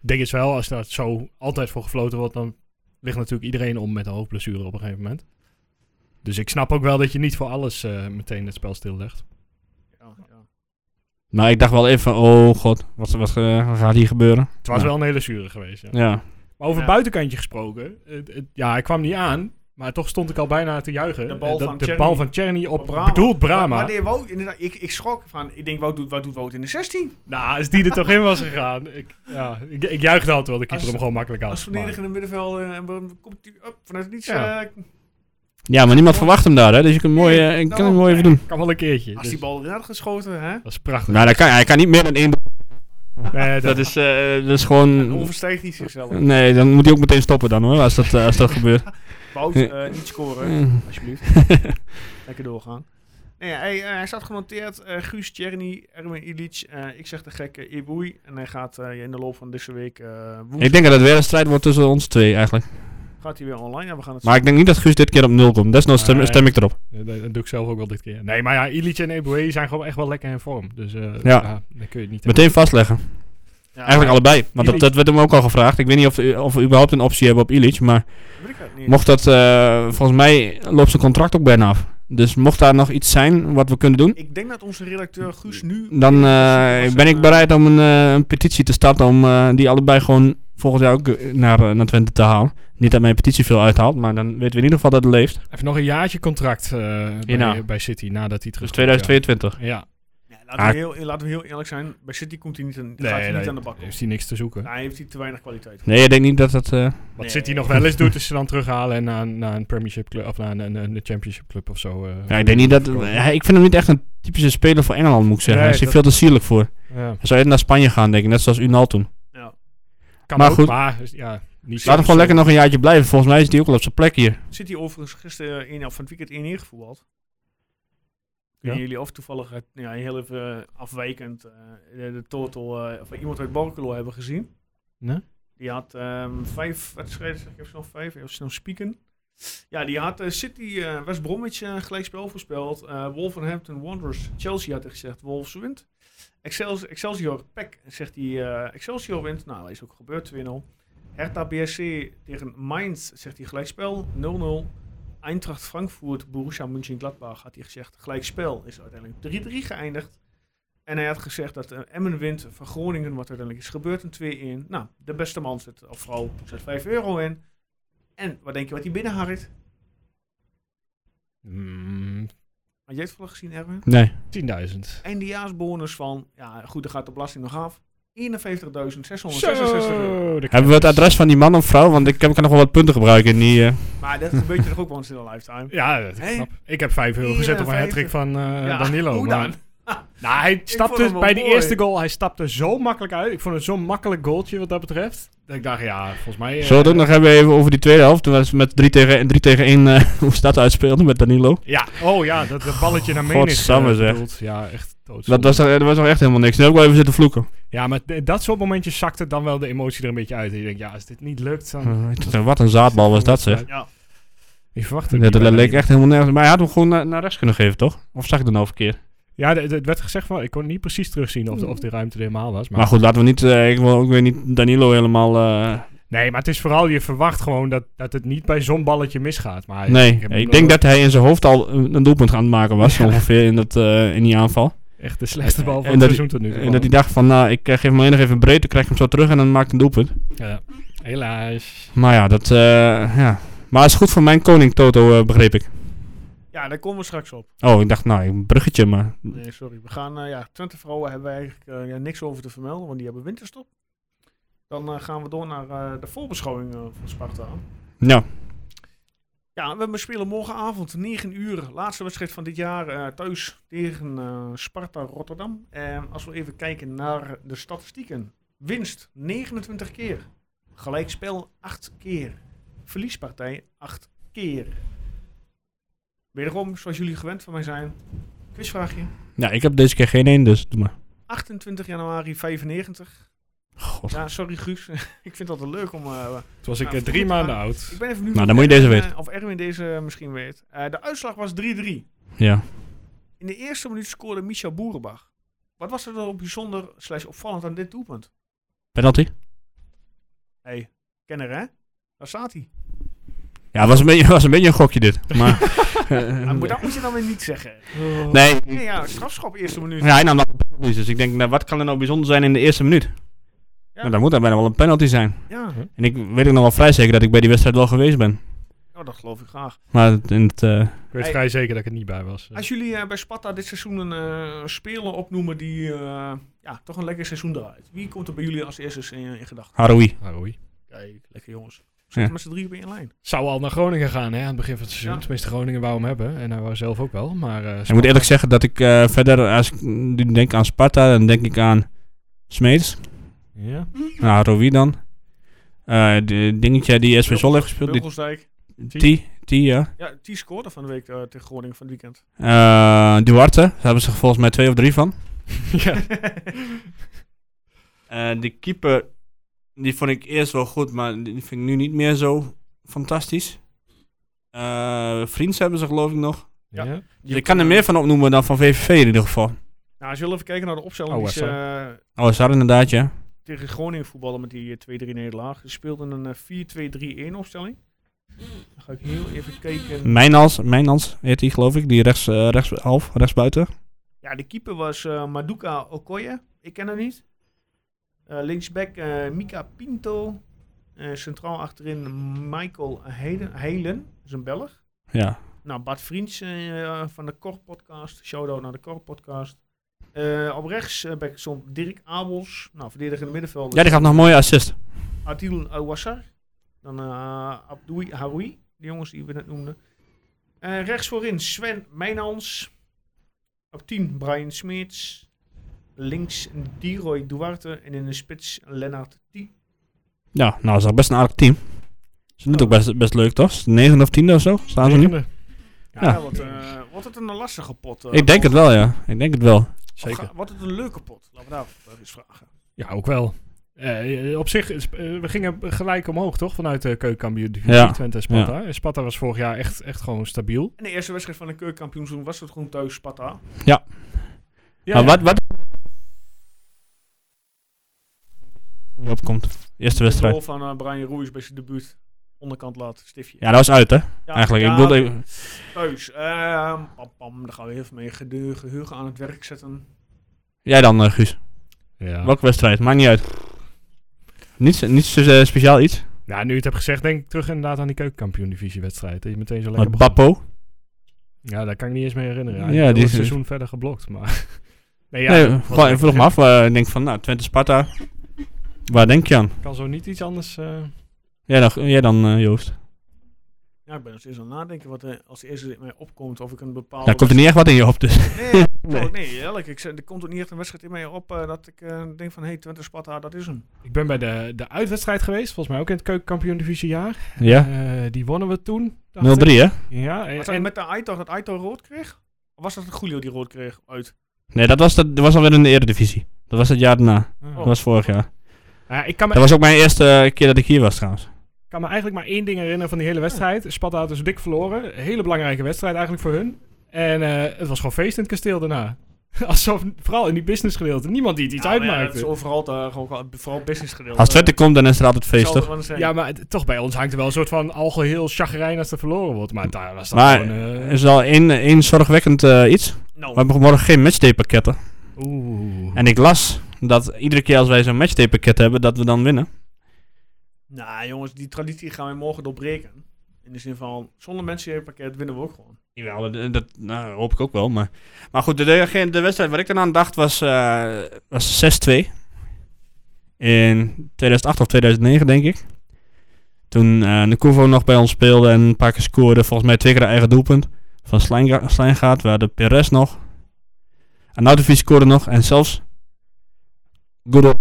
S2: Ik denk eens wel, als dat zo altijd voor gefloten wordt, dan ligt natuurlijk iedereen om met een hoofdblessure op een gegeven moment. Dus ik snap ook wel dat je niet voor alles eh, meteen het spel stillegt.
S1: Ja, ja.
S3: Maar ik dacht wel even, oh god, wat, wat eh, gaat hier gebeuren?
S2: Het was
S3: Ja.
S2: wel een hele zure geweest. Ja.
S3: Ja.
S2: Maar over
S1: Ja.
S2: buitenkantje gesproken. het- het- ja, hij kwam niet aan. Maar toch stond ik al bijna te juichen.
S1: De bal
S2: Eh, dat-
S1: van
S2: de
S1: Tjerni.
S2: bal van Tjerni op,
S1: Op
S2: bedoeld
S1: Maar,
S2: Brahma.
S1: maar nee, Wout, inderdaad, ik, ik schrok van, ik denk, wat doet, wat doet Wout in de 16?
S2: Nou, als die er toch in was gegaan. Ik, ja, ik, ik juichte altijd wel. De keeper
S1: Als-
S2: hem gewoon makkelijk
S1: Als
S2: had. Maar,
S1: verdedigende middenvelder, en dan komt hij up vanuit niets.
S2: Ja.
S1: eh,
S3: ja, maar niemand verwacht hem daar, hè? Dus je kunt hem mooi, eh, je kan hem mooi even doen.
S2: kan wel een keertje.
S1: als
S2: dus
S1: die bal erin had geschoten, hè?
S2: Dat is prachtig.
S3: Nou, dat kan, hij kan niet meer dan één doen.
S2: Nee, dat,
S3: Nou, Dat
S2: is...
S3: is, eh, dat is gewoon...
S1: Overstijgt hij zichzelf.
S3: Nee, dan moet hij ook meteen stoppen dan hoor, als dat, eh, als dat gebeurt.
S1: Wout,
S3: Ja.
S1: eh, niet scoren.
S3: Mm.
S1: Alsjeblieft. Lekker doorgaan. Nee, hij, eh, hij staat genoteerd. eh, Guus, Tjerni, Erwin Ilic. eh, ik zeg de gekke Iboui. En hij gaat eh, in de loop van deze week... eh, woensdag
S3: Ik denk dat het weer een strijd wordt tussen ons twee eigenlijk.
S1: gaat hij weer online. En we gaan het
S3: Maar ik denk niet dat Guus dit keer op nul komt. Desnoods stem,
S2: Nee.
S3: stem ik erop.
S2: dat, dat doe ik zelf ook wel dit keer. Nee, maar ja, Illich en Eboué zijn gewoon echt wel lekker in vorm. Dus eh, ja.
S3: Ja.
S2: dan kun je het niet...
S3: Meteen vastleggen.
S1: zien. Ja,
S3: Eigenlijk allebei. Want
S2: Illich-
S3: dat, dat werd hem ook al gevraagd. Ik weet niet of, of we überhaupt een optie hebben op Illich. Maar
S1: weet ik het niet.
S3: mocht dat... eh, volgens mij loopt zijn contract ook bijna af. Dus mocht daar nog iets zijn wat we kunnen doen...
S1: Ik denk dat onze redacteur Guus nu...
S3: Dan eh, ben ik bereid om een, eh, een petitie te starten om eh, die allebei gewoon volgend jaar ook eh, naar, eh, naar Twente te halen. Niet dat mijn petitie veel uithaalt, maar dan weten we in ieder geval dat het leeft.
S2: Even nog een jaartje contract eh, bij,
S3: Hierna.
S2: bij City nadat hij terug
S3: Dus 2022.
S2: Ja, ja.
S1: Ja, laten,
S3: Ah.
S1: we heel, laten we heel eerlijk zijn. Bij City komt hij niet, aan,
S2: Nee,
S1: gaat hij
S2: nee,
S1: niet aan de bak. komen.
S2: heeft hij niks te zoeken.
S1: Hij heeft hij te weinig kwaliteit.
S3: Nee, ik denk niet dat dat... eh,
S2: Wat
S1: Nee.
S2: City nog wel eens doet, is ze dan terughalen en naar, een- naar een Premiership club of naar een, een, een Championship club of zo. eh.
S3: ja, ik denk niet dat... hij- ik vind hem niet echt een typische speler voor Engeland, moet ik zeggen.
S2: Nee,
S3: hij is hier
S2: dat-
S3: veel te sierlijk voor.
S2: Ja.
S3: Hij zou eerder naar Spanje gaan, denk ik. Net zoals Unal toen.
S2: Kan
S3: Maar
S2: ook,
S3: goed.
S2: maar ja, niet
S3: Laat hem
S2: zo-
S3: gewoon lekker nog een jaartje blijven. Volgens mij is hij ook al op zijn plek hier.
S1: City overigens gisteren in, of van het weekend 1-1 gevoetbald.
S2: Ja.
S1: Kunnen jullie of toevallig het- ja, heel even eh, afwijkend eh, de, de total eh, van iemand uit Borculo hebben gezien?
S2: Nee?
S1: Die had ehm, vijf wedstrijden, zeg ik even snel vijf, even snel spieken. Ja, die had eh, City, eh, West Bromwich eh, gelijkspel voorspeld. Eh, Wolverhampton Wanderers, Chelsea had hij gezegd, Wolves wint. Excels- Excelsior, Peck, zegt hij, eh, Excelsior wint. Nou, dat is ook gebeurd, 2-0. Hertha BSC tegen Mainz, zegt hij gelijkspel, 0-0. Eintracht Frankfurt, Borussia Mönchengladbach, had hij gezegd gelijkspel. Is uiteindelijk 3-3 geëindigd. En hij had gezegd dat eh, Emmen wint van Groningen, wat uiteindelijk is gebeurd, een 2-1. Nou, de beste man zet, of vrouw zet 5 euro in. En wat denk je wat hij binnenharkt?
S2: Mm,
S1: Had jij het vooral gezien, Erwin?
S3: Nee.
S2: 10.000.
S1: Eindejaarsbonus van, ja goed, dan gaat de belasting nog af. 1,2 51.666 euro.
S2: Zo, de
S3: Hebben we het adres van die man of vrouw? Want ik kan kan nog wel wat punten gebruiken. in Die, eh,
S1: Maar dat gebeurt je toch ook once in a lifetime?
S2: Ja, dat
S1: Hey.
S2: snap ik. Ik heb 5 euro gezet op een
S1: 54.
S2: hattrick van eh,
S1: Ja,
S2: Danilo.
S1: hoe
S2: maar-
S1: dan?
S2: nou, hij
S1: vond hem
S2: stapte
S1: wel
S2: bij die
S1: mooi.
S2: eerste goal, hij stapte zo makkelijk uit. Ik vond het zo'n makkelijk goaltje wat dat betreft. Dat ik dacht, ja, volgens mij... eh,
S3: Zullen we het ook nog hebben even over die tweede helft? Toen was het met 3 tegen, 3 tegen 1 eh, hoe ze dat uitspeelden met Danilo.
S2: Ja, oh ja, dat, dat balletje naar Menis.
S3: Godsamme,
S2: eh,
S3: zeg.
S2: bedoeld. Ja, echt
S3: Dat
S2: doodzonde.
S3: was, er was nog echt helemaal niks. Nu heb ik wel even zitten vloeken.
S2: Ja, maar d- dat soort momentjes zakte dan wel de emotie er een beetje uit. En je denkt, ja, als dit niet lukt, dan...
S3: Eh, Wat een zaadbal was dat zeg.
S1: Ja.
S2: Je verwacht het
S3: Ja,
S2: niet
S3: dat
S2: bijna
S3: leek
S2: niet.
S3: echt helemaal nergens. Maar hij had hem gewoon naar, naar rechts kunnen geven, toch? Of zag ik dat nou verkeerd?
S2: Ja, d- d- het werd gezegd van, ik kon niet precies terugzien of de, of de ruimte er helemaal was. Maar,
S3: Maar goed, laten we niet. eh, ik wil ook weer niet Danilo helemaal. eh,
S2: nee, maar het is vooral, je verwacht gewoon dat, dat het niet bij zo'n balletje misgaat. Maar
S3: nee,
S2: heb
S3: ik,
S2: hem
S3: denk
S2: nog
S3: dat hij in zijn hoofd al een een doelpunt aan het maken was. Ongeveer in, dat, eh, in die aanval.
S2: Echt de slechtste bal van
S3: En
S2: het
S3: dat-
S2: seizoen tot nu toe.
S3: En dat hij dacht van, nou, ik eh, geef hem alleen nog even breed, dan krijg ik hem zo terug en dan maak ik een doelpunt.
S2: Ja. Helaas.
S3: Maar ja, dat. eh, ja. Maar het is goed voor mijn koning Toto, eh, begreep ik.
S1: ja, daar komen we straks op.
S3: Oh, ik dacht, nou, een bruggetje, maar.
S1: Nee, sorry. We gaan, eh, ja, Twente vrouwen hebben we eigenlijk eh, ja, niks over te vermelden, want die hebben winterstop. Dan eh, gaan we door naar eh, de voorbeschouwing eh, van Sparta.
S3: Ja,
S1: Ja, we spelen morgenavond 9 uur, laatste wedstrijd van dit jaar, eh, thuis tegen eh, Sparta Rotterdam. En als we even kijken naar de statistieken. Winst 29 keer, gelijkspel 8 keer, verliespartij 8 keer. Wederom, zoals jullie gewend van mij zijn, quizvraagje.
S3: ja ik heb deze keer geen één, dus doe maar.
S1: 28 januari 95.
S3: God.
S1: Ja, sorry Guus. ik vind dat wel leuk om... eh,
S2: Toen was ik
S1: Ja,
S2: eh, drie
S1: goed, maar-
S2: maanden oud.
S1: ik ben even nu...
S3: Nou, dan moet je deze weten.
S1: Of Erwin deze misschien weet. Eh, de uitslag was 3-3.
S3: Ja.
S1: In de eerste minuut scoorde Michel Boerenbach. Wat was er dan bijzonder slash opvallend aan dit doelpunt?
S3: Penalty?
S1: Hé, hey, kenner hè? Daar staat hij.
S3: Ja, was een beetje, was een, beetje een gokje dit. Maar, eh, Oh.
S1: Ah, maar dat moet je dan weer niet zeggen.
S3: nee,
S1: Nee, ja, strafschop eerste minuut.
S3: ja, hij nam dat op penalties. Dus ik denk, nou, wat kan er nou bijzonder zijn in de eerste minuut? Nou, dan moet er bijna wel een penalty zijn.
S1: Ja,
S3: En ik weet ook nog wel vrij zeker dat ik bij die wedstrijd wel geweest ben.
S1: nou, dat geloof ik graag.
S3: Maar het- in het, eh,
S2: Ik weet
S1: Hey.
S2: vrij zeker dat ik er niet bij was.
S1: Als jullie eh, bij Sparta dit seizoen een eh, speler opnoemen die eh, ja, toch een lekker seizoen draait. Wie komt er bij jullie als eerste in, in gedachten?
S3: Haroui.
S2: Ah, oei.
S1: Kijk, lekker jongens.
S3: Ja.
S1: Zitten met z'n drieën op één lijn.
S2: Zou al naar Groningen gaan hè, aan het begin van het seizoen.
S1: Ja.
S2: Tenminste, Groningen wou hem hebben. En hij wou zelf ook wel. Maar eh,
S3: Ik moet eerlijk zeggen dat ik eh, verder, als ik nu denk aan Sparta, dan denk ik aan Smeets.
S2: ja.
S3: Nou, Haroui dan. Eh, de dingetje die SV Zol heeft gespeeld. Die
S1: Wilgelsdijk.
S3: T, T, ja.
S1: Ja, die scoorde van de week eh, tegen Groningen van het weekend.
S3: Eh, Duarte, daar hebben ze er volgens mij twee of drie van.
S2: ja.
S3: Eh, de keeper, die vond ik eerst wel goed, maar die vind ik nu niet meer zo fantastisch. Eh Vriends hebben ze geloof ik nog.
S1: Ja.
S2: Ja.
S3: Dus ik kan er meer van opnoemen dan van VVV in ieder geval.
S1: Nou, als jullie even kijken naar de opstelling
S2: Oh,
S1: die ze eh,
S3: Oh, is dat inderdaad, ja.
S1: tegen Groningen voetballen met die eh, 2-3 nederlaag. Ze speelden een eh, 4-2-3-1 opstelling. Dan ga ik heel even
S3: Mm.
S1: kijken.
S3: Mijnals, Mijnals heet die geloof ik, die rechts, eh, rechts, half, rechts buiten.
S1: Ja, de keeper was eh, Maduka Okoye. Ik ken hem niet. Eh, linksback eh, Mika Pinto. Eh, centraal achterin Michael Heiden- Heilen. Dat is een Belg.
S3: Ja.
S1: Nou, Bart Vriends eh, van de Kor Podcast. Shoutout naar de Kor Podcast. Eh, op rechts eh, bij stond Dirk Abels. Nou, verdedigende middenvelder.
S3: ja, die gaf nog een mooie assist.
S1: Adil Awassar. Dan eh Abdoui Haroui. De jongens die we net noemden. Eh, rechts voorin Sven Meijnans. Op 10 Brian Smeets. Links Diroy Duarte. En in de spits Lennart T.
S3: Ja, nou, is dat best een aardig team. Ze doet ook best, best leuk, toch? Negen of tiende of zo, staan ze nu?
S2: Negende.
S1: Ja,
S3: Ja.
S1: Wat, eh, wordt het een lastige pot? eh,
S3: Ik denk het wel, ja. Ik denk het wel.
S1: Of
S2: Zeker.
S1: ga- Wordt het een leuke pot? Laten we daar eens vragen.
S2: Ja, ook wel. Eh, eh, op zich, is- eh, we gingen gelijk omhoog, toch? Vanuit de keukenkampioen divisie
S3: Ja.
S2: Twente en Sparta. En Sparta was vorig jaar echt, echt gewoon stabiel.
S1: En de eerste wedstrijd van de keukenkampioenseizoen was het gewoon thuis Sparta.
S2: Ja,
S3: maar
S2: ja.
S3: wat... wat... Opkomt. Eerste wedstrijd.
S1: De goal van eh, Brian Ruiz bij zijn debuut. Onderkant laat, stiftje.
S3: Ja, dat was uit, hè?
S1: Ja,
S3: Eigenlijk,
S1: ja,
S3: ik bedoelde even...
S1: Thuis. Ehm pam, pam, daar gaan we even mee gede- geheugen aan het werk zetten.
S3: Jij dan, eh, Guus.
S2: Ja.
S3: Welke wedstrijd? Maakt niet uit. Niets, niets eh, speciaal iets.
S2: Nou, nu je het hebt gezegd, denk ik terug inderdaad aan die keukenkampioen divisie wedstrijd. Dat je meteen zo lekker
S3: Met
S2: begon.
S3: Bappo.
S2: Ja, daar kan ik niet eens meer herinneren. Hij
S3: Ja,
S2: ja,
S3: die
S2: die is
S3: is-
S2: het seizoen verder geblokt. Maar Nee,
S3: nee,
S2: dat was
S3: gewoon, ik
S2: lekker,
S3: vroeg me
S2: ja.
S3: af. eh, ik denk van, nou, Twente Sparta. Waar denk je aan?
S2: Kan zo niet iets anders... eh,
S3: Jij dan, jij dan eh, Joost?
S1: Ja, ik ben nog steeds aan het nadenken wat er als eerste mij opkomt. Of ik een bepaalde...
S3: Daar komt er niet echt wat in je op, dus.
S1: Nee, nee. nee eerlijk. Ik, zeg, er komt ook niet echt een wedstrijd in mij op eh, dat ik eh, denk van... Hé, hey, Twente Sparta, dat is hem.
S2: Ik ben bij de, de uitwedstrijd geweest, volgens mij ook in het keukenkampioen divisiejaar.
S3: Ja,
S2: Eh, die wonnen we toen. dacht
S3: 0-3
S2: ik.
S3: hè?
S2: Ja, en,
S1: Was dat met de Aitor dat Aitor rood kreeg? Of was dat het Julio die rood kreeg uit?
S3: Nee, dat was, dat, dat was alweer in de Eredivisie. Dat was het jaar daarna.
S2: Ah.
S3: Dat was vorig jaar.
S2: Nou ja, ik kan me,
S3: Dat was ook mijn eerste eh, keer dat ik hier was trouwens.
S2: Ik kan me eigenlijk maar één ding herinneren van die hele wedstrijd. Sparta had dus dik verloren. Een hele belangrijke wedstrijd eigenlijk voor hun. En eh, het was gewoon feest in het kasteel daarna. Alsof, vooral in die business gedeelte, niemand die het iets
S1: Nou, Ja, maar ja, dat
S2: uitmaakte.
S1: is overal, daar, gewoon, vooral business gedeelte.
S3: Als
S2: eh,
S3: Twente komt, dan is er altijd feest, toch?
S2: ja, maar het- toch bij ons hangt er wel een soort van algeheel chagrijn als er verloren wordt. Maar daar was dat
S3: Maar
S2: gewoon... eh,
S3: er is al één, één zorgwekkend eh, iets.
S1: Nou,
S3: We hebben morgen geen matchdaypakketten.
S2: Oeh.
S3: En ik las dat iedere keer als wij zo'n matchdaypakket hebben, dat we dan winnen.
S1: nou, jongens, die traditie gaan wij morgen doorbreken. In de zin van, zonder mensen pakket winnen we ook gewoon.
S3: Jawel, dat, dat nou, hoop ik ook wel. Maar, maar goed, de, de, de wedstrijd waar ik dan aan dacht was, eh, was 6-2. In 2008 of 2009, denk ik. Toen eh Nkuvo nog bij ons speelde en een paar keer scoorde. Volgens mij twee keer een eigen doelpunt. Van Slijnga- Slijngaard, we hadden Perez nog. Anautovic scoorde nog. En zelfs Goodall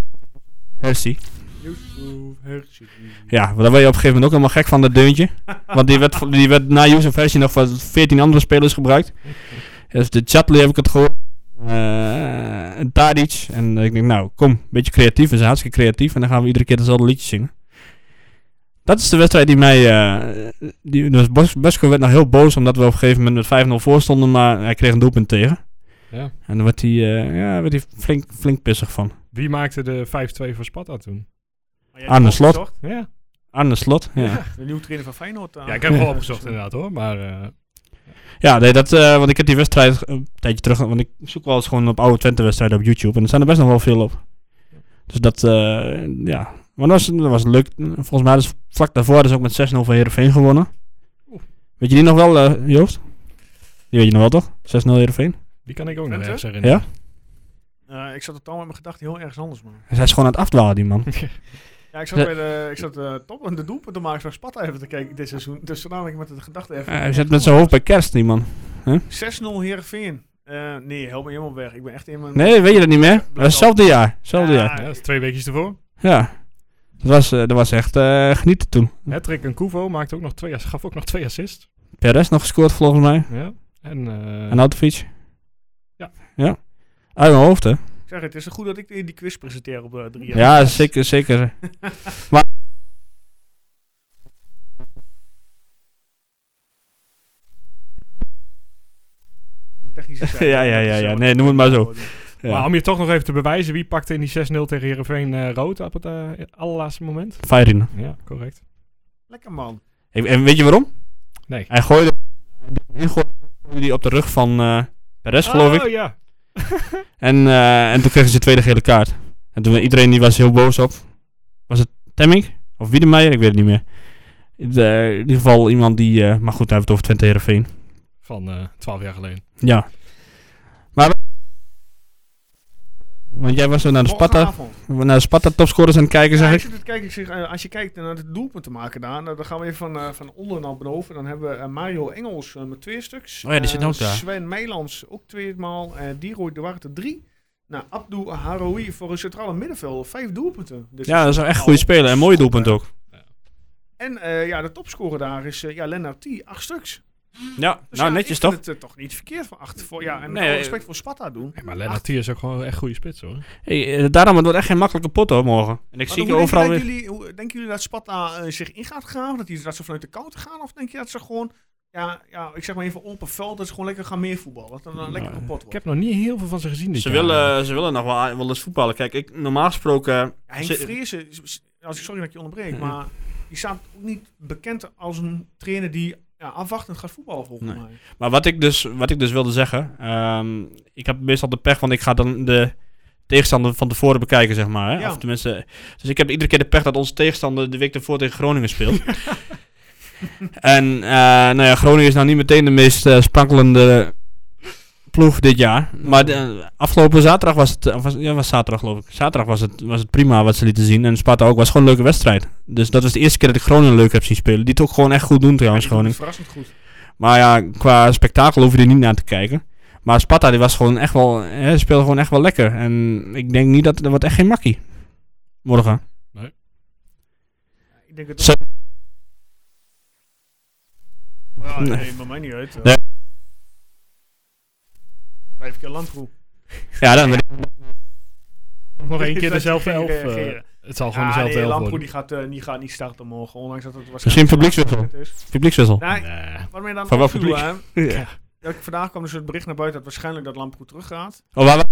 S3: Hersi.
S1: Yusuf Hershey.
S3: Ja, want daar werd je op een gegeven moment ook helemaal gek van, dat deuntje. Want die werd, die werd na Yusuf Versie nog van 14 andere spelers gebruikt. Dus de Chatley heb ik het gehoord. Eh, en Tadic. En ik denk, nou, kom, een beetje creatief. We zijn hartstikke creatief. En dan gaan we iedere keer dezelfde liedjes zingen. Dat is de wedstrijd die mij... eh, die, dus Bos- Bosko werd nog heel boos, omdat we op een gegeven moment met 5-0 voor stonden. Maar hij kreeg een doelpunt tegen.
S2: Ja.
S3: En daar werd hij, eh, ja, werd hij flink, flink pissig van.
S2: Wie maakte de 5-2 voor Sparta toen?
S1: Maar jij
S3: Aan de
S1: hebt
S3: slot.
S1: opgezocht,
S2: Ja,
S3: Aan de slot, ja.
S1: De nieuwe trainer van Feyenoord. eh,
S2: ja ik heb hem wel opgezocht inderdaad hoor. Maar eh,
S3: Ja, nee, dat, eh, want ik heb die wedstrijd een tijdje terug... Want ik zoek wel eens gewoon op oude Twente-wedstrijden op YouTube. En er staan er best nog wel veel op. Dus dat, eh, ja. Maar dat was, dat was leuk. Volgens mij dus vlak daarvoor dus ook met 6-0 van Heerenveen gewonnen.
S2: Oeh.
S3: Weet je die nog wel, eh, Joost? Die weet je nog wel, toch? 6-0 Heerenveen.
S2: die kan ik ook nog
S1: Twente?
S2: ergens herinneren.
S1: eh, ik zat totaal met mijn gedachten heel ergens anders, man.
S3: Dus hij is gewoon aan het afdwalen, die man.
S1: Ja, ik zat,
S3: Ja.
S1: bij de, ik zat eh top aan de doelpunten maken van Sparta even te kijken dit seizoen. Dus daarna ben ik met de gedachte even...
S3: hij zit met zijn hoofd bij kerst, die man.
S1: 6-0 Heerenveen. Eh nee, help me helemaal weg. Ik ben echt in mijn...
S3: Nee, weet je dat niet meer? Dat was hetzelfde jaar. Hetzelfde
S1: Ja.
S3: jaar.
S2: Ja, dat is twee weekjes ervoor.
S3: Ja. Dat was, eh, dat was echt eh, genieten toen.
S2: Hattrick en Kuvo maakte ook nog twee, gaf ook nog twee assists.
S3: Perez nog gescoord, volgens mij.
S2: Ja. En, eh,
S3: Een autofiets?
S2: Ja.
S3: Ja. Uit mijn hoofd, hè?
S1: Ik zeg, het is goed dat ik die die quiz presenteer op de drie
S3: Ja, zeker, zeker. maar...
S1: Technische zaken.
S3: Ja, ja, ja,
S1: Dat is,
S3: ja.
S1: eh,
S3: Nee, noem het maar zo. Ja.
S2: Maar om je toch nog even te bewijzen, wie pakte in die 6-0 tegen Heerenveen eh, rood op het eh, allerlaatste moment?
S3: Feyenoord.
S2: Ja, correct.
S1: Lekker man.
S3: Ik- En weet je waarom?
S2: Nee.
S3: Hij gooide... Hij gooide die op de rug van eh Perez, geloof ik.
S2: Oh ja.
S3: En, eh, en toen kreeg hij zijn tweede gele kaart. En toen iedereen die was heel boos op. Was het Temmink? Of Wiedemeyer? Ik weet het niet meer. De- in ieder geval iemand die... eh, maar goed, hij heeft het over Twente Heerenveen.
S2: Van eh 12 jaar geleden.
S3: Ja. Maar... Want jij was zo naar de Sparta...
S1: Morgenavond.
S3: naar de Sparta topscorers aan het kijken,
S1: Ja,
S3: zeg
S1: ik
S3: ik.
S1: zit te kijken, ik zeg, eh, als je kijkt naar de doelpunten maken daar, nou, dan gaan we even van, eh, van onder naar boven. Dan hebben we eh, Mario Engels eh, met twee stuks.
S3: Oh ja, die zit
S1: Eh,
S3: ook daar.
S1: Sven Meilands ook tweemaal. eh Diroy de Warte drie. Nou, Abdou Haroui voor een centrale middenveld. Vijf doelpunten. Dus
S3: Ja, dat is een echt goede speler. En mooi doelpunt ook.
S1: En eh, ja, de topscorer daar is eh, ja, Lennart T. Acht stuks.
S3: Ja,
S1: Dus
S3: nou
S1: ja,
S3: netjes
S1: ik vind
S3: toch?
S1: het eh, toch niet verkeerd van acht voor. Ja, en met
S3: Nee,
S1: alle
S3: eh,
S1: respect voor Sparta doen.
S2: maar Lennart Thier is ook gewoon echt goede spits hoor.
S3: Hey, eh, daarom, het wordt echt geen makkelijke pot hoor, morgen. En ik
S1: Maar
S3: zie
S1: hoe
S3: je
S1: denken
S3: overal
S1: dat
S3: weer...
S1: Jullie, hoe, denken jullie dat Sparta eh, zich in gaat gaan? Dat, die, dat ze vanuit de koude gaan? Of denk je dat ze gewoon, ja, ja, ik zeg maar even open veld, dat ze gewoon lekker gaan meer voetballen? Dat er dan lekker kapot
S2: Ik
S1: wordt.
S2: heb nog niet heel veel van ze gezien dit
S3: Ze
S2: jaar.
S3: willen, eh, ze willen nog wel, wel eens voetballen. Kijk, ik, normaal gesproken...
S1: Ja, Henk
S3: ze-
S1: Vrezen, is- is- als ik sorry dat ik je onderbreek, maar die staat ook niet bekend als een trainer die ja, afwachtend gaat voetballen volgens
S3: Nee.
S1: mij.
S3: Maar wat ik dus, wat ik dus wilde zeggen... ehm, ik heb meestal de pech, want ik ga dan de tegenstander van tevoren bekijken, zeg maar. Hè?
S1: Ja.
S3: Of tenminste... Dus ik heb iedere keer de pech dat onze tegenstander de week ervoor tegen Groningen speelt. en eh, nou ja, Groningen is nou niet meteen de meest eh, sprankelende ploeg dit jaar. Maar de- eh, afgelopen zaterdag was het... of was, ja, was zaterdag geloof ik. Zaterdag was het, was het prima wat ze lieten zien. En Sparta ook. was gewoon een leuke wedstrijd. Dus dat was de eerste keer dat ik Groningen leuk heb zien spelen. Die het ook gewoon echt goed doen trouwens, Groningen.
S1: Verrassend goed.
S3: Maar ja, qua spektakel hoef je er niet naar te kijken. Maar Sparta die was gewoon echt wel, hè, speelde gewoon echt wel lekker. En ik denk niet dat er wordt echt geen makkie. Morgen.
S1: Ik denk het
S3: Zo-
S1: Ja,
S3: Nee.
S1: nee, maar mij niet uit.
S3: Nee.
S1: Vijf keer landproef.
S3: Ja, dan ben ik-
S2: Nog één keer
S1: Dat
S2: dezelfde
S1: ging
S2: elf. eh,
S1: reageren.
S2: het zal gewoon
S1: Ja,
S2: dezelfde
S1: nee,
S2: elf
S1: Lamproe
S2: worden.
S1: die gaat, eh, niet, gaat niet starten morgen, ondanks dat het
S3: Misschien
S1: waarschijnlijk...
S3: publiekswissel.
S1: is.
S3: Publiekswissel.
S1: Nou,
S2: Nee.
S1: wat mij dan
S3: Van wat
S1: opviel,
S3: publiek?
S1: hè,
S3: Ja.
S1: dat ik- vandaag kwam dus het bericht naar buiten dat waarschijnlijk dat Lamproe teruggaat.
S3: Oh, waar-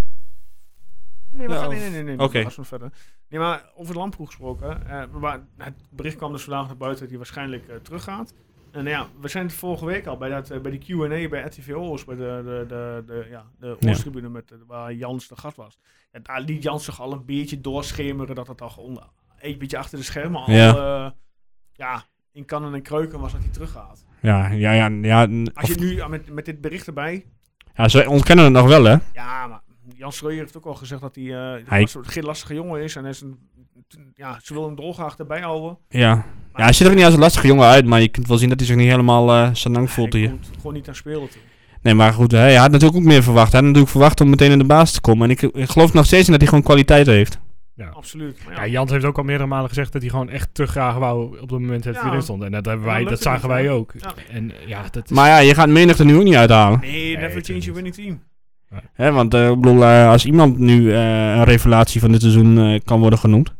S1: Nee, maar
S3: Ja,
S1: ga-
S3: of-
S1: nee, nee, nee. nee
S3: Nou, oké.
S1: dat was nog verder. Nee, maar over Lamproe gesproken. eh, maar het bericht kwam dus vandaag naar buiten dat hij waarschijnlijk eh, teruggaat. En nou ja, we zijn het vorige week al bij, dat, eh, bij die Q&A bij RTV Oost, bij de, de, de, de, ja, de
S3: Ja.
S1: Oosttribune met, eh, waar Jans de gast was. En daar liet Jans zich al een beetje doorschemeren dat het al gewoon een beetje achter de schermen al
S3: Ja.
S1: eh, ja, in kannen en kreuken was dat hij teruggaat.
S3: Ja, ja, ja. ja, n-
S1: Als je
S3: of-
S1: nu ah, met, met dit bericht erbij.
S3: ja ze ontkennen het nog wel, hè?
S1: Ja, maar Jan Schreuer heeft ook al gezegd dat hij, eh
S3: Hij-
S1: een soort geen lastige jongen is. En hij is een, ja, ze wil hem dolgraag erbij houden.
S3: Ja. Ja, hij ziet er ook niet als een lastige jongen uit, maar je kunt wel zien dat hij zich niet helemaal eh senang voelt
S1: Hij
S3: hier.
S1: komt gewoon niet aan spelen toe.
S3: Nee, maar goed, hij hij had natuurlijk ook meer verwacht. Hij had natuurlijk verwacht om meteen in de baas te komen. En ik, ik geloof nog steeds in dat hij gewoon kwaliteit heeft.
S1: Absoluut. Maar
S2: Ja,
S1: ja,
S2: Jans heeft ook al meerdere malen gezegd dat hij gewoon echt te graag wou op het moment dat hij
S1: Ja.
S2: erin stond. En dat, hebben
S1: En
S2: wij,
S1: dan lukt
S2: dat
S1: het
S2: zagen
S1: niet,
S2: wij
S1: hè?
S2: ook.
S1: Ja.
S2: En ja, dat is...
S3: Maar ja, je gaat menigte nu ook niet uithalen.
S1: Nee, never
S2: tuurlijk
S1: change
S2: niet.
S1: your winning team.
S3: Hè, want eh, ik bedoel, eh, als iemand nu eh, een revelatie van dit seizoen eh, kan worden genoemd.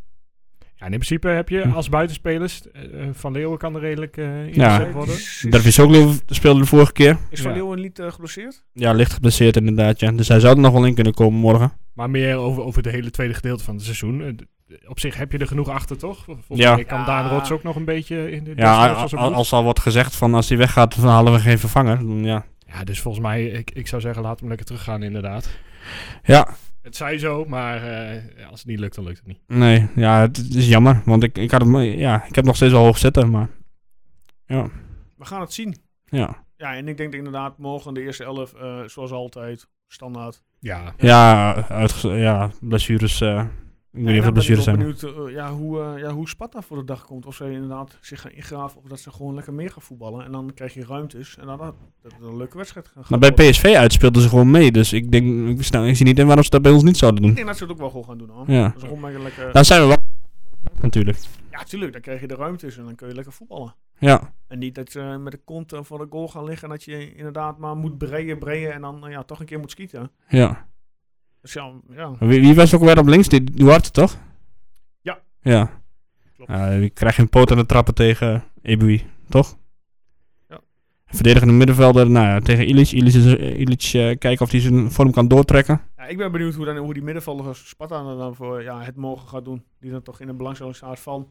S2: Ja, en in principe heb je
S3: Hm.
S2: als buitenspelers... eh, eh, Van Leeuwen kan er redelijk eh
S3: Ja.
S2: ingezet worden.
S1: Is,
S3: Dat
S1: is,
S3: Visoklo speelde de vorige keer.
S1: is Van
S2: Ja.
S1: Leeuwen niet eh, geblesseerd?
S3: Ja, licht geblesseerd inderdaad. Ja. Dus hij zou er nog wel in kunnen komen morgen.
S2: Maar meer over, over het hele tweede gedeelte van het seizoen. Eh, d- Op zich heb je er genoeg achter, toch? Volgens
S3: Ja.
S2: mij kan Daan
S1: Ja.
S2: Rots ook nog een beetje in de...
S3: Ja,
S2: als een
S3: al-
S2: bloed.
S3: als al wordt gezegd van als hij weggaat, dan halen we geen vervanger. Dan Ja,
S2: ja, dus volgens mij, ik, ik zou zeggen, laat hem lekker teruggaan inderdaad.
S3: ja
S2: Het zij zo, maar eh, als het niet lukt, dan lukt het niet.
S3: nee. Ja, het het is jammer. Want ik, ik, had hem, eh, ja, ik heb nog steeds wel hoog zitten. Maar
S1: We gaan het zien.
S3: ja.
S1: Ja, en ik denk dat inderdaad morgen de eerste elf, eh, zoals altijd, standaard.
S2: Ja,
S3: Ja, uitge- ja blessures. eh, ik weet
S1: En
S3: niet of er
S1: dan ben ik
S3: blessures
S1: wel
S3: zijn.
S1: benieuwd eh, ja, hoe, eh, ja, hoe Sparta voor de dag komt. Of ze inderdaad zich gaan ingraven of dat ze gewoon lekker meer gaan voetballen. En dan krijg je ruimtes en dan dat, dat het een leuke wedstrijd gaan
S3: Maar bij
S1: worden.
S3: PSV uit speelden ze gewoon mee. Dus ik denk, ik, snap- ik zie niet in waarom ze dat bij ons niet zouden
S1: Ik
S3: doen.
S1: denk dat ze het ook wel gewoon gaan doen hoor.
S3: Ja. Nou-
S1: Dat is gewoon lekker- lekker...
S3: Dan zijn we wel. Natuurlijk.
S1: Ja, tuurlijk, dan krijg je de ruimtes en dan kun je lekker voetballen.
S3: Ja.
S1: En niet dat je met de kont eh, voor de goal gaan liggen en dat je inderdaad maar moet breien, breien en dan eh, ja, toch een keer moet schieten.
S3: ja.
S1: Dus ja, ja.
S3: Wie, wie was ook weer op links? Die Duarte, toch?
S1: Ja.
S3: Ja.
S1: Klopt.
S3: Eh, je krijgt geen poot aan de trappen tegen Ebui, toch?
S1: Ja.
S3: Verdedigende middenvelder, nou ja, tegen Illich. Illich, is, eh, Illich eh, kijken of hij zijn vorm kan doortrekken.
S1: Ja, ik ben benieuwd hoe, dan, hoe die middenvelder van Sparta er dan voor ja, het morgen gaat doen. Die dan toch in de belangstelling staat van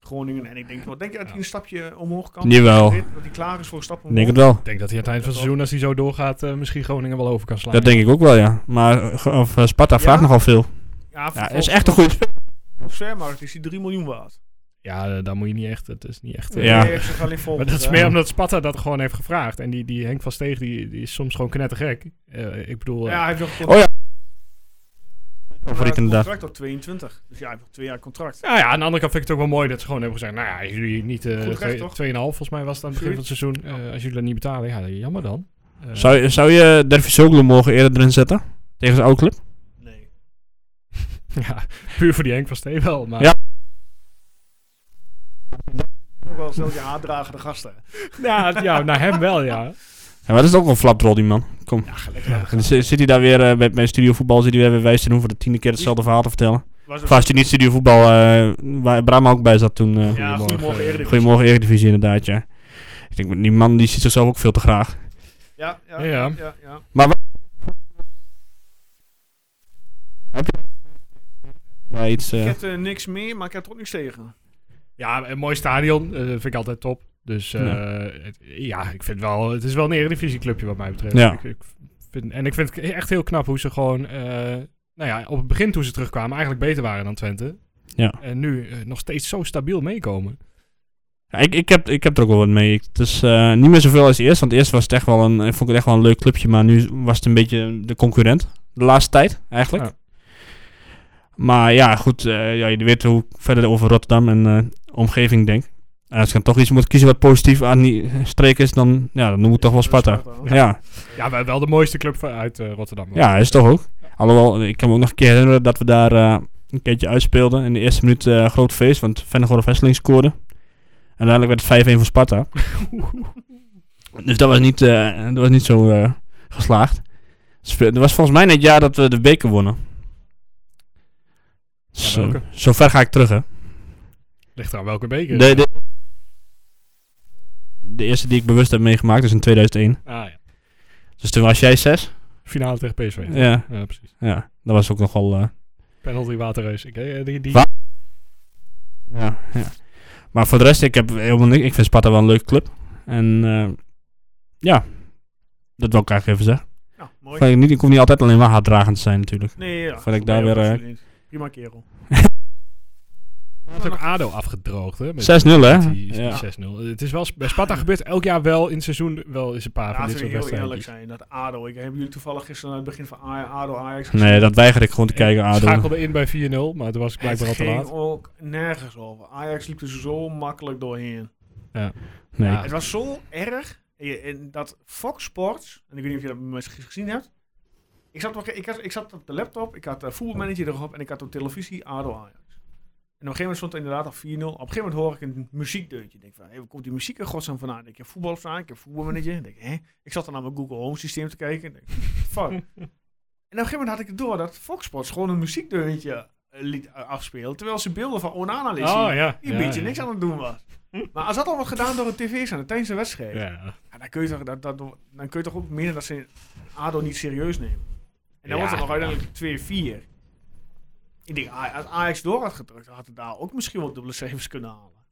S1: Groningen. En ik denk, wat denk je dat hij een stapje omhoog kan?
S3: Jawel.
S1: Dit, Dat hij klaar is voor een stap
S3: Ik
S1: omhoog?
S3: denk het wel.
S2: ik denk dat hij aan het eind van het seizoen, als hij zo doorgaat, eh, misschien Groningen wel over kan slaan.
S3: Dat denk ik ook wel, ja. Maar eh, ge- of, eh, Sparta
S1: Ja?
S3: vraagt nogal veel.
S1: Ja,
S3: Ja, is echt een goede speler.
S1: transfermarkt is hij 3 miljoen waard.
S2: Ja, eh, daar moet je niet echt. Het is niet echt. eh,
S3: Ja.
S1: Nee, ik zeg alleen volgend,
S2: Maar dat is
S1: hè.
S2: meer omdat Sparta dat gewoon heeft gevraagd. En die, die Henk van Steeg, die, die is soms gewoon knettergek. Eh ik bedoel, eh,
S1: Ja, hij heeft nog een
S3: Oh ja.
S1: maar
S3: Favoriet
S1: een
S3: inderdaad.
S1: contract op 22. Dus ja, hij heeft nog twee jaar contract.
S2: nou ja, aan de andere kant vind ik het ook wel mooi dat ze gewoon hebben gezegd... Nou ja, jullie niet eh,
S1: Goed recht,
S2: twee- 2,5
S1: toch?
S2: volgens mij was het aan het begin van het seizoen. Eh, als jullie dat niet betalen, ja, jammer dan. Eh,
S3: Zou, zou je Dervisoglu mogen eerder erin zetten? Tegen zijn oude club?
S1: Nee.
S2: Eh, Ja, puur voor die Henk van Steeg wel. Maar
S3: Ja.
S2: ja.
S1: Ook wel snel je haatdragende gasten.
S2: Ja, naar hem wel, ja.
S3: Ja, maar dat is ook wel een flaprol, die man. Kom. En dan zi- zit hij daar weer eh, bij, bij Studio Voetbal, zit hij weer bij wijs te doen voor de tiende keer hetzelfde verhaal te vertellen.
S1: Was
S3: Of als hij niet Studio Voetbal, eh, waar Brahma ook bij zat toen. eh
S1: Ja, goedemorgen Eredivisie.
S3: Goedemorgen Eredivisie inderdaad, ja. Ik denk, die man die ziet zichzelf ook veel te graag.
S1: Ja, ja,
S2: Ja.
S1: ja. ja, ja.
S3: Maar iets, eh,
S1: Ik heb eh, niks meer, maar ik heb er ook niks tegen.
S2: Ja, een mooi stadion. eh, vind ik altijd top. Dus eh, het- ja, ik vind wel... Het is wel een eredivisieclubje wat mij betreft.
S3: Ja.
S2: Ik, ik vind, en ik vind het echt heel knap hoe ze gewoon... eh, nou ja, op het begin toen ze terugkwamen eigenlijk beter waren dan Twente.
S3: Ja.
S2: En nu eh, nog steeds zo stabiel meekomen.
S3: Ja, ik, ik, heb, ik heb er ook wel wat mee. Ik- Het is eh, niet meer zoveel als eerst. Want eerst was het echt wel een, ik vond ik het echt wel een leuk clubje. Maar nu was het een beetje de concurrent. De laatste tijd eigenlijk.
S2: Ja.
S3: Maar ja, goed. eh, ja, je weet hoe ik verder over Rotterdam en eh, omgeving denk. En als ik dan toch iets moet kiezen wat positief aan die streek is, dan, ja, dan noem ik toch wel Sparta.
S1: Sparta.
S3: Ja.
S2: Ja, maar wel de mooiste club van- uit eh, Rotterdam. hoor.
S3: Ja, is toch ook. Alhoewel, ik kan me ook nog een keer herinneren dat we daar eh, een keertje uitspeelden. In de eerste minuut eh, groot feest, want Vennegor of Hesseling scoorde. En uiteindelijk werd het 5-1 voor Sparta. dus dat was niet, eh, dat was niet zo eh, geslaagd. Spe- Dat was volgens mij net het jaar dat we de beker wonnen. Zo,
S2: welke?
S3: zo ver ga ik terug, hè.
S2: Ligt er aan welke beker.
S3: De, de, de eerste die ik bewust heb meegemaakt is in 2001.
S2: Ah ja,
S3: Dus toen was jij zes.
S2: finale tegen PSV. Ja,
S3: Ja,
S2: precies.
S3: ja. dat was ook nogal... eh,
S2: Penalty Waterreus. Ik, eh, die, die...
S3: Wa- Ja, ja. Maar voor de rest, ik heb helemaal niks. Ik vind Sparta wel een leuke club. En eh, ja, dat wil ik eigenlijk even zeggen.
S1: Ja, mooi.
S3: Ik, vind niet, ik hoef niet altijd alleen maar haatdragend te zijn natuurlijk.
S1: Nee, ja.
S3: Vond ik daar
S1: Nee,
S3: weer, eh,
S1: absoluut niet. Prima kerel.
S2: Dat is ook ADO afgedroogd, hè?
S3: 6-0
S2: met-
S3: hè?
S2: met die
S3: Ja.
S2: 6-0. Het is wel, s- bij Sparta gebeurt elk jaar wel in het seizoen wel eens een paar van dit
S1: Laten we
S2: soort
S1: heel eerlijk
S2: wedstrijden.
S1: zijn. Dat ADO. Ik heb jullie toevallig gisteren aan het begin van A- ADO Ajax
S3: Nee, dat weiger ik gewoon te kijken
S2: Ik
S3: ADO.
S2: schakelde in bij 4-0, maar toen was ik blijkbaar al
S1: het
S2: te
S1: ging
S2: laat.
S1: ook nergens over. Ajax liep er zo makkelijk doorheen.
S3: Nee.
S2: Ja.
S1: Het was zo erg eh, en dat Fox Sports, en ik weet niet of je dat misschien gezien hebt. Ik zat, nog, ik, had, ik zat op de laptop, ik had uh, voetbalmanager erop en ik had op televisie ADO Ajax. En op een gegeven moment stond het inderdaad al 4-0. Op een gegeven moment hoor ik een muziekdeuntje. Ik denk van, hé, waar komt die muziek er godsnaam vandaan? Ik denk, ik heb voetbal op staan, ik heb voetbalmanager. Ik denk, hè? Ik zat dan naar mijn Google Home systeem te kijken. Ik denk, fuck. en op een gegeven moment had ik het door dat Fox Sports gewoon een muziekdeuntje eh, liet eh, afspelen. Terwijl ze beelden van Onana liet zien
S2: Oh ja.
S1: die
S2: ja,
S1: een beetje
S2: ja.
S1: niks aan het doen was. Maar als dat al wordt gedaan door een tv-zender tijdens een wedstrijd,
S2: Ja.
S1: ja, dan, kun je toch, dat, dat, dan kun je toch ook menen dat ze ADO niet serieus nemen. En dan
S2: Ja.
S1: wordt het nog uiteindelijk 2-4. Ik denk, A- als Ajax door had gedrukt, had het daar ook misschien wel dubbele cijfers kunnen halen.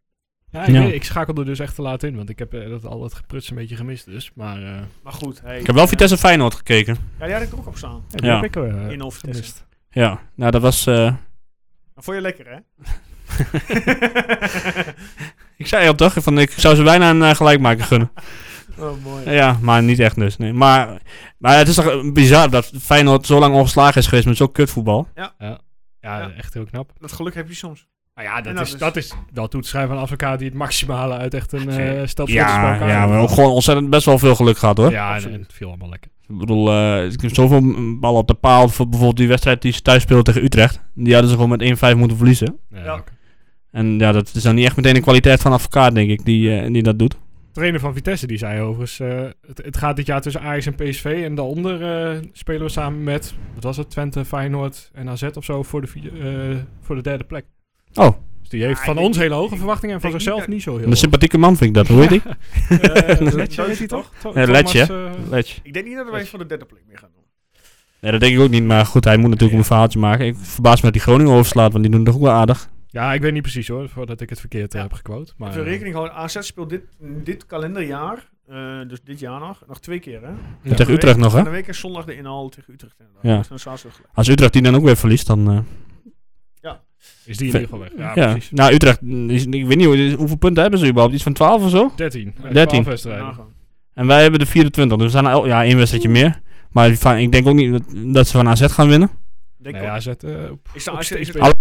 S2: Ja, ik,
S3: Ja.
S2: weet- ik schakelde dus echt te laat in, want ik heb eh, dat al dat gepruts een beetje gemist dus. Maar eh,
S1: Maar goed, hey,
S3: Ik heb wel Vitesse Feyenoord gekeken.
S1: Ja, die had ik er ook op staan.
S2: die
S3: Ja.
S2: heb ik eh,
S1: In of
S2: gemist.
S1: gemist.
S3: Ja, nou dat was... eh,
S1: Dat vond je lekker, hè?
S3: ik zei al toch, van, ik zou ze bijna een eh, gelijkmaker gunnen.
S1: oh, mooi.
S3: Ja, maar niet echt dus. Nee. Maar, maar het is toch eh, bizar dat Feyenoord zo lang ongeslagen is geweest met zo'n kutvoetbal.
S2: Ja,
S1: Ja.
S2: echt heel knap.
S1: Dat geluk heb je soms.
S2: Nou ja, dat,
S1: En dat
S2: is,
S1: is-
S2: dat is wel toe te schrijven aan een advocaat die het maximale uit echt een
S3: Ja,
S2: eh stel
S3: Ja, ja, we hebben ook gewoon ontzettend best wel veel geluk gehad hoor.
S2: Ja, en,
S1: Absoluut.
S2: en het viel allemaal lekker.
S3: Ik bedoel, eh, ik heb zoveel mm, ballen op de paal. Voor bijvoorbeeld die wedstrijd die ze thuis speelden tegen Utrecht. Die hadden ze gewoon met 1-5 moeten verliezen.
S2: Ja,
S1: Ja.
S2: oké.
S3: En ja, dat is dan niet echt meteen de kwaliteit van advocaat, denk ik, die, eh, die dat doet.
S2: trainer van Vitesse die zei overigens, eh, het, het gaat dit jaar tussen Ajax en PSV en daaronder eh, spelen we samen met, wat was het, Twente, Feyenoord en AZ of zo voor de, vier- eh, voor de derde plek.
S3: Oh.
S2: Dus die heeft
S1: Ja,
S2: van
S1: ik denk-
S2: ons hele hoge
S1: ik
S2: verwachtingen en van
S1: denk niet
S2: zichzelf niet,
S1: dat-
S2: zo heel
S3: Een sympathieke man vind ik dat, hoe heet die?
S2: hoog. Eh,
S1: Letje
S2: heet
S1: heet
S2: hij
S1: toch?
S2: toch? To-
S3: Ja,
S2: Thomas,
S3: Letje.
S2: eh,
S3: Letje.
S1: Ik denk niet dat wij voor de derde plek meer gaan doen.
S3: Nee, dat denk ik ook niet. Maar goed, hij moet natuurlijk een verhaaltje maken. Ik verbaas me dat die Groningen overslaat, want die doen toch ook wel aardig.
S2: ja, ik weet niet precies hoor, voordat ik het verkeerd eh,
S1: Ja.
S2: heb gequote. Maar,
S1: Even rekening houden, AZ speelt dit, dit kalenderjaar, eh, dus dit jaar nog, nog twee keer, hè?
S2: eh, ja.
S3: Tegen
S1: Van de
S3: Utrecht
S1: week-
S3: nog, hè?
S1: Van de week is zondag de inhaal tegen Utrecht. inderdaad.
S3: Ja.
S1: Dus dan staan ze gelijk.
S3: Als Utrecht die dan ook weer verliest, dan... eh,
S2: Is die in ieder geval weg? Ja,
S3: ja,
S2: precies.
S3: Nou, Utrecht, mm, is- ik weet niet hoe- hoeveel punten hebben ze überhaupt. Iets van 12 of zo?
S2: 13. uit
S3: 13.
S2: 12 wedstrijden.
S1: Nagaan.
S3: En wij hebben de 24, dus we zijn al, ja, één wedstrijdje meer. Maar die van- ik denk ook niet dat- dat ze van AZ gaan winnen.
S1: Denk
S2: Nou
S1: ik
S2: ja,
S1: ook.
S2: AZ, eh, op-
S1: Is de
S2: op
S1: AZ
S2: steeds
S1: is het-
S2: beter.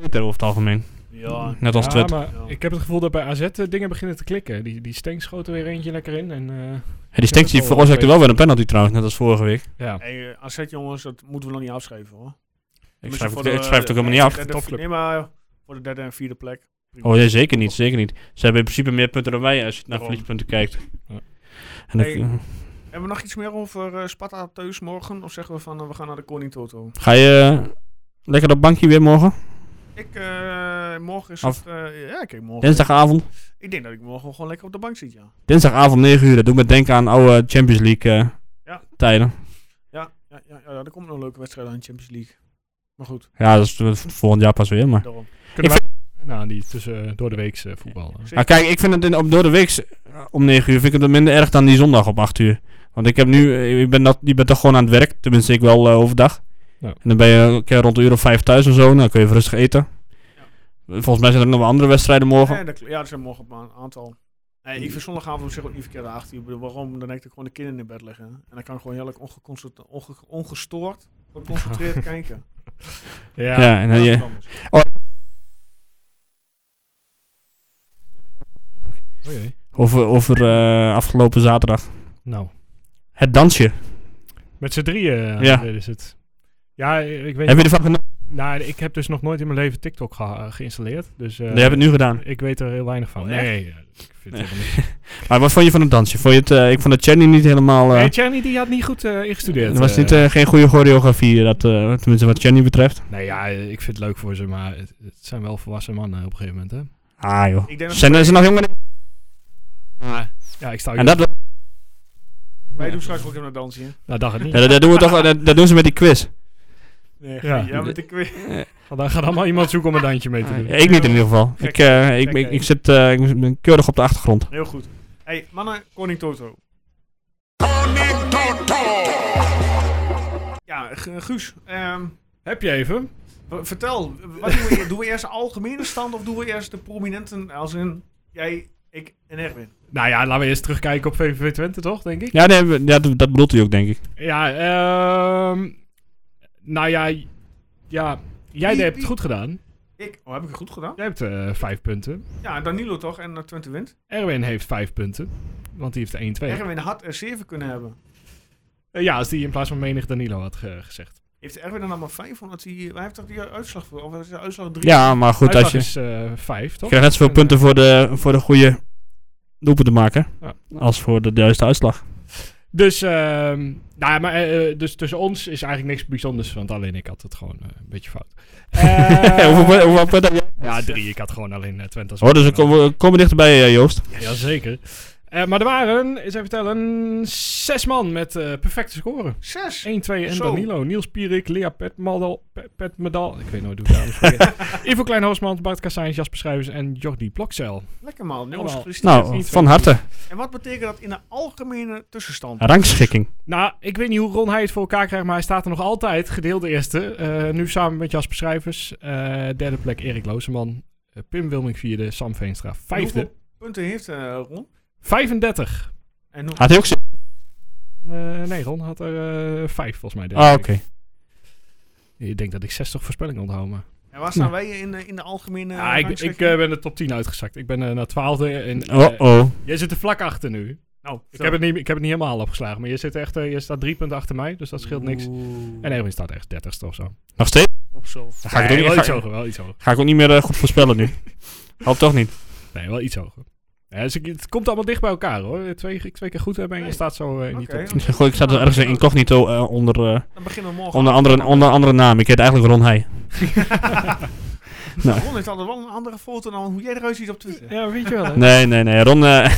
S3: Beter over het algemeen.
S1: ja.
S3: Net als
S2: ja,
S3: Twente.
S2: maar
S1: Ja.
S2: ik heb het gevoel dat bij AZ eh, dingen beginnen te klikken. Die, die Stenks schoot er weer eentje lekker in. En, eh,
S3: Ja, die stinkt, die
S2: dat is wel
S3: veroorzaakte
S2: oké.
S3: wel weer een penalty trouwens, net als vorige week.
S2: ja.
S1: Hey, eh, AZ jongens, dat moeten we nog niet afschrijven hoor.
S3: Ik
S1: Moet
S3: schrijf,
S1: je
S3: het,
S1: voor de- eh,
S3: ik schrijf het ook helemaal niet
S1: de
S3: af.
S1: derde-
S2: Topclub.
S1: Nee, maar voor de derde en vierde plek.
S3: Oh nee, zeker niet, zeker niet. Ze hebben in principe meer punten dan wij als je naar
S1: Daarom.
S3: verliespunten kijkt.
S2: Ja.
S3: En ik, eh,
S1: Hey. Hebben we nog iets meer over eh, Sparta thuis morgen? Of zeggen we van eh, we gaan naar de Koning Toto?
S3: ga je eh, lekker op bankje weer morgen?
S1: Ik, eh, morgen is
S3: Af-
S1: het... eh, ja, kijk, morgen.
S3: Dinsdagavond?
S1: Ik denk dat ik morgen gewoon lekker op de bank zit, ja.
S3: Dinsdagavond 9 uur, dat doet me denken aan oude Champions League eh,
S1: Ja.
S3: tijden.
S1: Ja, ja, ja, ja, er komt nog een leuke wedstrijd aan de Champions League. Maar goed,
S3: Ja, dat is eh, volgend jaar pas weer, maar...
S1: daarom.
S2: Kunnen wij nou, die tussen eh, door de weekse voetbal. hè?
S3: Maar kijk, ik vind het in, op, door de week s- om 9 uur vind ik het wat minder erg dan die zondag op 8 uur. Want ik heb nu, eh, ik ben, dat, je bent toch gewoon aan het werk, tenminste ik wel eh, overdag.
S2: Ja.
S3: En dan ben je een keer rond de uur of vijf thuis en zo, dan kun je even rustig eten. Volgens mij zijn er ook nog wel andere wedstrijden morgen.
S1: Ja, dat, kl- ja, er zijn morgen maar een aantal. Nee, ik vind zondagavond op zich ook niet verkeerd achter. Ik bedoel, waarom? Dan heb ik gewoon de kinderen in bed liggen. En dan kan ik gewoon heerlijk ongeconcentreerd, onge, ongestoord, geconcentreerd kijken.
S2: Ja.
S3: Ja, en dan
S1: Ja,
S3: je-
S1: dat dus. is anders.
S2: Oh jee.
S3: over, over eh, afgelopen zaterdag.
S2: Nou,
S3: Het dansje.
S2: met z'n drieën
S3: Ja.
S2: ja. is het. Ja, ik weet
S3: Heb je ervan genoten?
S2: Nou, ik heb dus nog nooit in mijn leven TikTok geha- geïnstalleerd. Dus eh,
S3: Nee, heb je het nu gedaan.
S2: ik weet er heel weinig van.
S3: Oh, echt?
S2: nee, eh, ik vind
S3: Nee.
S2: het helemaal niet.
S3: Maar wat vond je van het dansje? Vond je het, eh, ik vond het Channing niet helemaal... eh
S2: Nee, Tjerni die had niet goed eh, ingestudeerd.
S3: er was
S2: eh.
S3: niet, eh, geen goede choreografie, dat, eh, tenminste wat Channing betreft.
S2: Nee, ja, eh, ik vind het leuk voor ze, maar het, het zijn wel volwassen mannen eh, op een gegeven moment, hè?
S3: Ah joh.
S1: Ik denk dat
S3: Zijn er zijn nog jongeren?
S2: Ja, ik sta
S3: En dat, dat,
S1: wij doen straks ook even een dansje.
S2: Nou, dacht het niet.
S3: dat- dat doen we toch, dat, dat doen ze met die quiz.
S1: Nee,
S2: Ja.
S1: ja. met de quiz.
S2: Want daar gaat allemaal iemand zoeken om een dansje mee te doen.
S3: Ja, ik niet in ieder geval.
S1: Gek.
S3: Ik, eh, ik,
S1: Gek,
S3: ik,
S1: hè?
S3: ik zit eh, ik ben keurig op de achtergrond.
S1: Heel goed. hey, mannen, koning Toto. Ja, Gu- Guus, ehm,
S2: Heb je even?
S1: w- vertel. Wat doen, we, eer- doen we eerst de algemene stand of doen we eerst de prominenten als in jij, ik en Erwin?
S2: Nou ja, laten we eerst terugkijken op VVV Twente, toch, denk ik?
S3: Ja, nee, we- ja, dat, dat bedoelt u ook, denk ik.
S2: Ja, ehm... Nou ja, ja... Jij
S1: Wie-
S2: hebt het
S1: wie-
S2: goed gedaan.
S1: Ik, oh, heb ik het goed gedaan?
S2: Jij hebt eh, vijf punten.
S1: Ja, Danilo toch en eh, Twente wint.
S2: Erwin heeft vijf punten. Want die heeft 1-2.
S1: Erwin had er 7 kunnen hebben.
S2: Eh, ja, als die in plaats van menig Danilo had ge- gezegd.
S1: Heeft Erwin er nou maar 5 omdat hij... Hij heeft toch die uitslag voor? Of is de uitslag 3?
S3: Ja, maar goed, als
S2: Uitslag
S3: je, je
S2: is eh, vijf, toch?
S3: krijgt net zoveel
S2: En,
S3: punten voor de, voor de goede doelpunt te maken.
S2: Ja.
S3: Als voor de juiste uitslag.
S2: Dus, ehm, nou ja, maar, eh, eh, dus tussen ons is eigenlijk niks bijzonders, want alleen ik had het gewoon eh, een beetje fout. Eh,
S3: hoeveel, pun- hoeveel punten heb je?
S2: ja, drie. Ik had gewoon alleen eh, Twente als
S3: Oh, dus we
S2: winnaar.
S3: komen, we komen dichterbij, eh, Joost.
S2: Jazeker. Eh, maar er waren, eens even tellen, zes man met eh, perfecte scoren.
S1: 6!
S2: 1, 2 en
S1: Zo.
S2: Danilo. Niels Pierik, Lea Petmadal, Pe- Petmedal. Ik weet nooit hoe ik daar moet vergeten. Ivo Klein-Hoosmans, Bart Kassijns, Jasper Schrijvers en Jordi Blokcel.
S1: Lekker man, jongens.
S2: Allemaal.
S1: gefeliciteerd.
S3: Nou, van harte.
S1: En wat betekent dat in de algemene tussenstand?
S3: Rangschikking.
S2: Nou, ik weet niet hoe Ron hij het voor elkaar krijgt, maar hij staat er nog altijd gedeelde eerste. Eh, nu samen met Jasper Schrijvers. Eh, derde plek Erik Looseman. Eh, Pim Wilming vierde, Sam Veenstra vijfde.
S1: Hoeveel punten heeft eh, Ron?
S2: 35.
S1: En hoe...
S3: Had hij ook zin?
S2: Eh, nee, Ron had er eh, vijf volgens mij. deze
S3: Ah, oké.
S2: week. Je denkt dat ik 60 voorspellingen onthoud, maar...
S1: En waar staan wij in, de- in de algemene
S2: Ah, ik, ben-
S1: rangschikking?
S2: ik eh, ben de top 10 uitgezakt. Ik ben eh, naar 12 en eh,
S3: Oh-oh.
S2: jij zit er vlak achter nu.
S1: Nou,
S2: Ik heb, het niet, ik heb het niet helemaal opgeslagen, maar je, zit echt, eh, je staat drie punten achter mij, dus dat scheelt niks. En Erwin staat echt 30ste of zo.
S3: Nog steeds?
S1: op zo.
S3: Dan ga, ik
S2: Nee,
S3: het ook,
S2: wel
S3: niet-
S2: iets
S3: ga,
S2: hoger, wel iets hoger.
S3: ga ik ook niet meer eh, goed voorspellen nu. Hoop toch niet.
S2: Nee, wel iets hoger. Ja, dus ik- het komt allemaal dicht bij elkaar hoor. Twee, twee keer goed hebben en je
S1: Nee.
S2: staat zo eh, in die
S1: Oké.
S2: top 10.
S3: Goh, ik zat er ergens incognito eh, onder, eh,
S1: Dan beginnen we morgen.
S3: onder, andere, onder andere naam. Ik heet eigenlijk Ron Heij. Nou.
S1: Ron heeft altijd wel een andere foto dan hoe jij eruit ziet op Twitter.
S2: Ja, weet je wel hè?
S3: Nee, nee, nee. Ron, eh,
S1: Ja,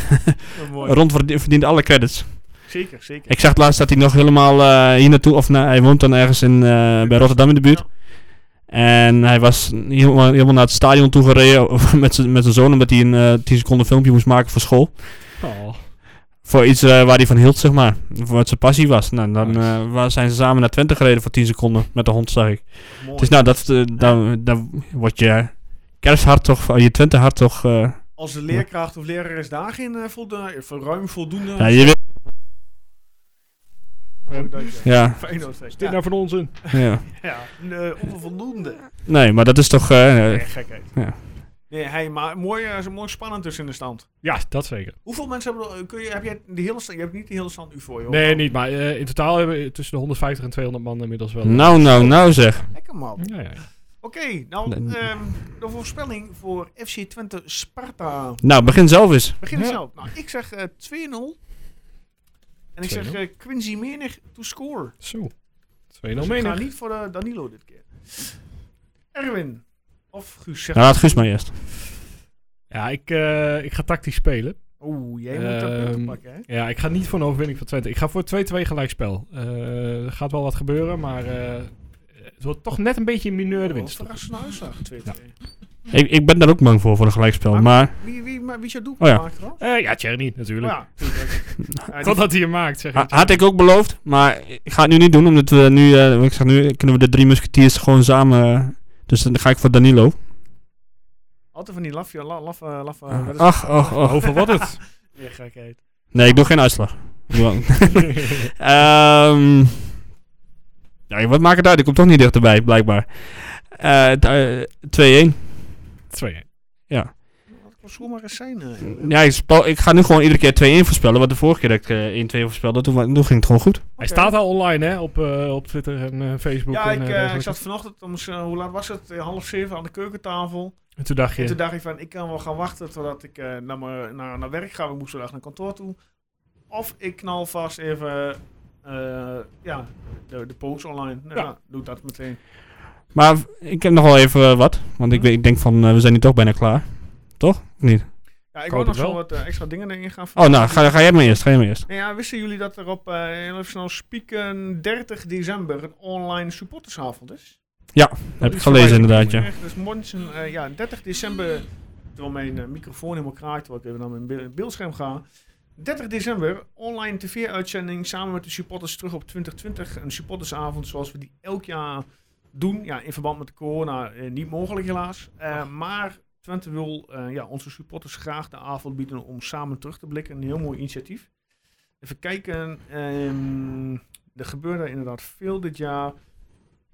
S1: mooi.
S3: Ron verdient verdient alle credits.
S1: Zeker, zeker.
S3: Ik zag laatst dat hij nog helemaal eh, hier naartoe... Of na, hij woont dan ergens in, eh, bij Rotterdam in de buurt. En hij was helemaal, helemaal naar het stadion toe gereden met zijn met zijn zoon... omdat hij een eh, 10 seconden filmpje moest maken voor school.
S2: Oh.
S3: Voor iets eh, waar hij van hield, zeg maar. Voor wat zijn passie was. Nou, dan
S2: Nice.
S3: eh, waar zijn ze samen naar Twente gereden voor 10 seconden met de hond, zag ik.
S1: Mooi.
S3: Dus nou, dat, eh, dan, dan wordt je eh, kersthart toch, eh, je Twente hart toch... eh,
S1: Als de leerkracht of leraar is daarin eh voldoende, eh, ruim voldoende.
S3: ja, je weet,
S1: Oh, dank je.
S3: ja,
S1: Feyenoord zegt,
S2: Dit
S1: ja,
S2: nou van onzin.
S3: ja.
S1: ja, een, eh, onvoldoende.
S3: Nee, maar dat is toch... eh,
S1: Nee, gekheid.
S3: ja.
S1: Nee, hey, maar mooi, eh, zo mooi spannend dus in de stand.
S2: Ja, dat zeker.
S1: Hoeveel mensen hebben er, kun je, heb jij de hele stand, je hebt niet de hele stand nu voor je. hoor.
S2: Nee, niet, maar eh, in totaal hebben we tussen de 150 en 200 man inmiddels wel. eh,
S3: nou, nou, nou zeg.
S1: Lekker man.
S2: Ja, ja.
S1: Oké, nou,
S3: Nee.
S1: ehm, de voorspelling voor FC Twente Sparta.
S3: Nou, begin zelf eens.
S1: Begin
S2: Ja.
S1: zelf. Nou, ik zeg eh, 2-0. En ik zeg
S2: 2-0.
S1: eh, Quincy Menig to score.
S2: Zo. 2-0
S1: Dus ik ga
S2: menig.
S1: niet voor eh, Danilo dit keer. Erwin. Of Guus zeg
S3: Nou, laat Guus maar eerst.
S2: Ja, ik, eh, ik ga tactisch spelen.
S1: Oeh, jij moet dat
S2: Ehm,
S1: punten pakken, hè?
S2: Ja, ik ga niet voor een overwinning van Twente. Ik ga voor 2-2 gelijkspel. Eh, er gaat wel wat gebeuren, maar eh, het wordt toch net een beetje een mineur de
S1: Oh,
S2: winst.
S1: Verrassende uitslag, 2-2.
S3: Ik, ik ben daar ook bang voor, voor een gelijkspel.
S1: Maar-
S3: Maar
S1: Wie, wie, maar wie zou doel
S3: Oh ja.
S1: maken trouwens?
S2: Eh, ja, Tjerni, natuurlijk.
S1: Ja, tuurlijk. Ja, die-
S2: Totdat hij hem maakt, zeg
S3: ha-
S2: ik.
S3: had ik ook beloofd. Maar ik ga het nu niet doen, omdat we nu... eh, ik zeg, nu kunnen we de drie musketiers gewoon samen... eh, dus dan ga ik voor Danilo.
S1: Altijd van die lafje, la- laffe, eh, laffe... wat is het?
S3: Ah, Ach, ach, ach.
S2: Oh, Over wat het?
S1: Ja, gekheid.
S3: Nee, ik doe geen uitslag. Ik doe wel- Ehm ja, wat maakt het uit? Ik kom toch niet dichterbij, blijkbaar. Eh, t- eh, 2-1.
S2: 2
S1: Dat kon zomaar eens zijn. eh.
S3: Ja, ik, spel- ik ga nu gewoon iedere keer 2-1 voorspellen. Want de vorige keer dat ik eh, 1-2 voorspelde, toen, wa- toen ging het gewoon goed.
S1: Oké.
S2: Hij staat al online, hè? Op, eh, op Twitter en eh, Facebook.
S1: Ja,
S2: en,
S1: ik,
S2: eh,
S1: eh, ik
S2: dergelijke.
S1: zat vanochtend om, z- eh, hoe laat was het? Eh, Half zeven aan de keukentafel.
S2: En toen dacht
S1: En toen
S2: je...
S1: dacht ik van, ik kan wel gaan wachten totdat ik eh, naar, mijn, naar, naar werk ga. Ik moest vandaag naar kantoor toe. Of ik knal vast even eh, ja, de, de post online. Nou,
S2: Ja.
S1: nou, doe dat meteen.
S3: Maar v- ik heb nog wel even eh, wat. Want ik, weet- ik denk van, eh, we zijn nu toch bijna klaar. Toch? Of Niet?
S1: Ja, ik
S2: hoop
S1: wil nog
S2: het
S1: zo
S2: wel.
S1: wat eh, extra dingen erin gaan
S3: Oh, nou, ga, ga jij maar eerst. Ga jij maar eerst.
S1: Nou ja, wisten jullie dat er op, eh, heel even snel spieken, 30 december een online supportersavond is?
S3: Heb ik
S1: Iets
S3: gelezen
S1: voorbij
S3: inderdaad, ja.
S1: gekomen. Echt, Dus morgen, eh, ja, 30 december, terwijl mijn eh, microfoon helemaal kraakt, terwijl ik even naar mijn be- beeldscherm ga. 30 december, online tv-uitzending samen met de supporters terug op 2020. Een supportersavond zoals we die elk jaar doen. Ja, in verband met de corona eh, niet mogelijk helaas. Eh, maar Twente wil eh, ja, onze supporters graag de avond bieden om samen terug te blikken. Een heel mooi initiatief. Even kijken. ehm, er gebeurde inderdaad veel dit jaar.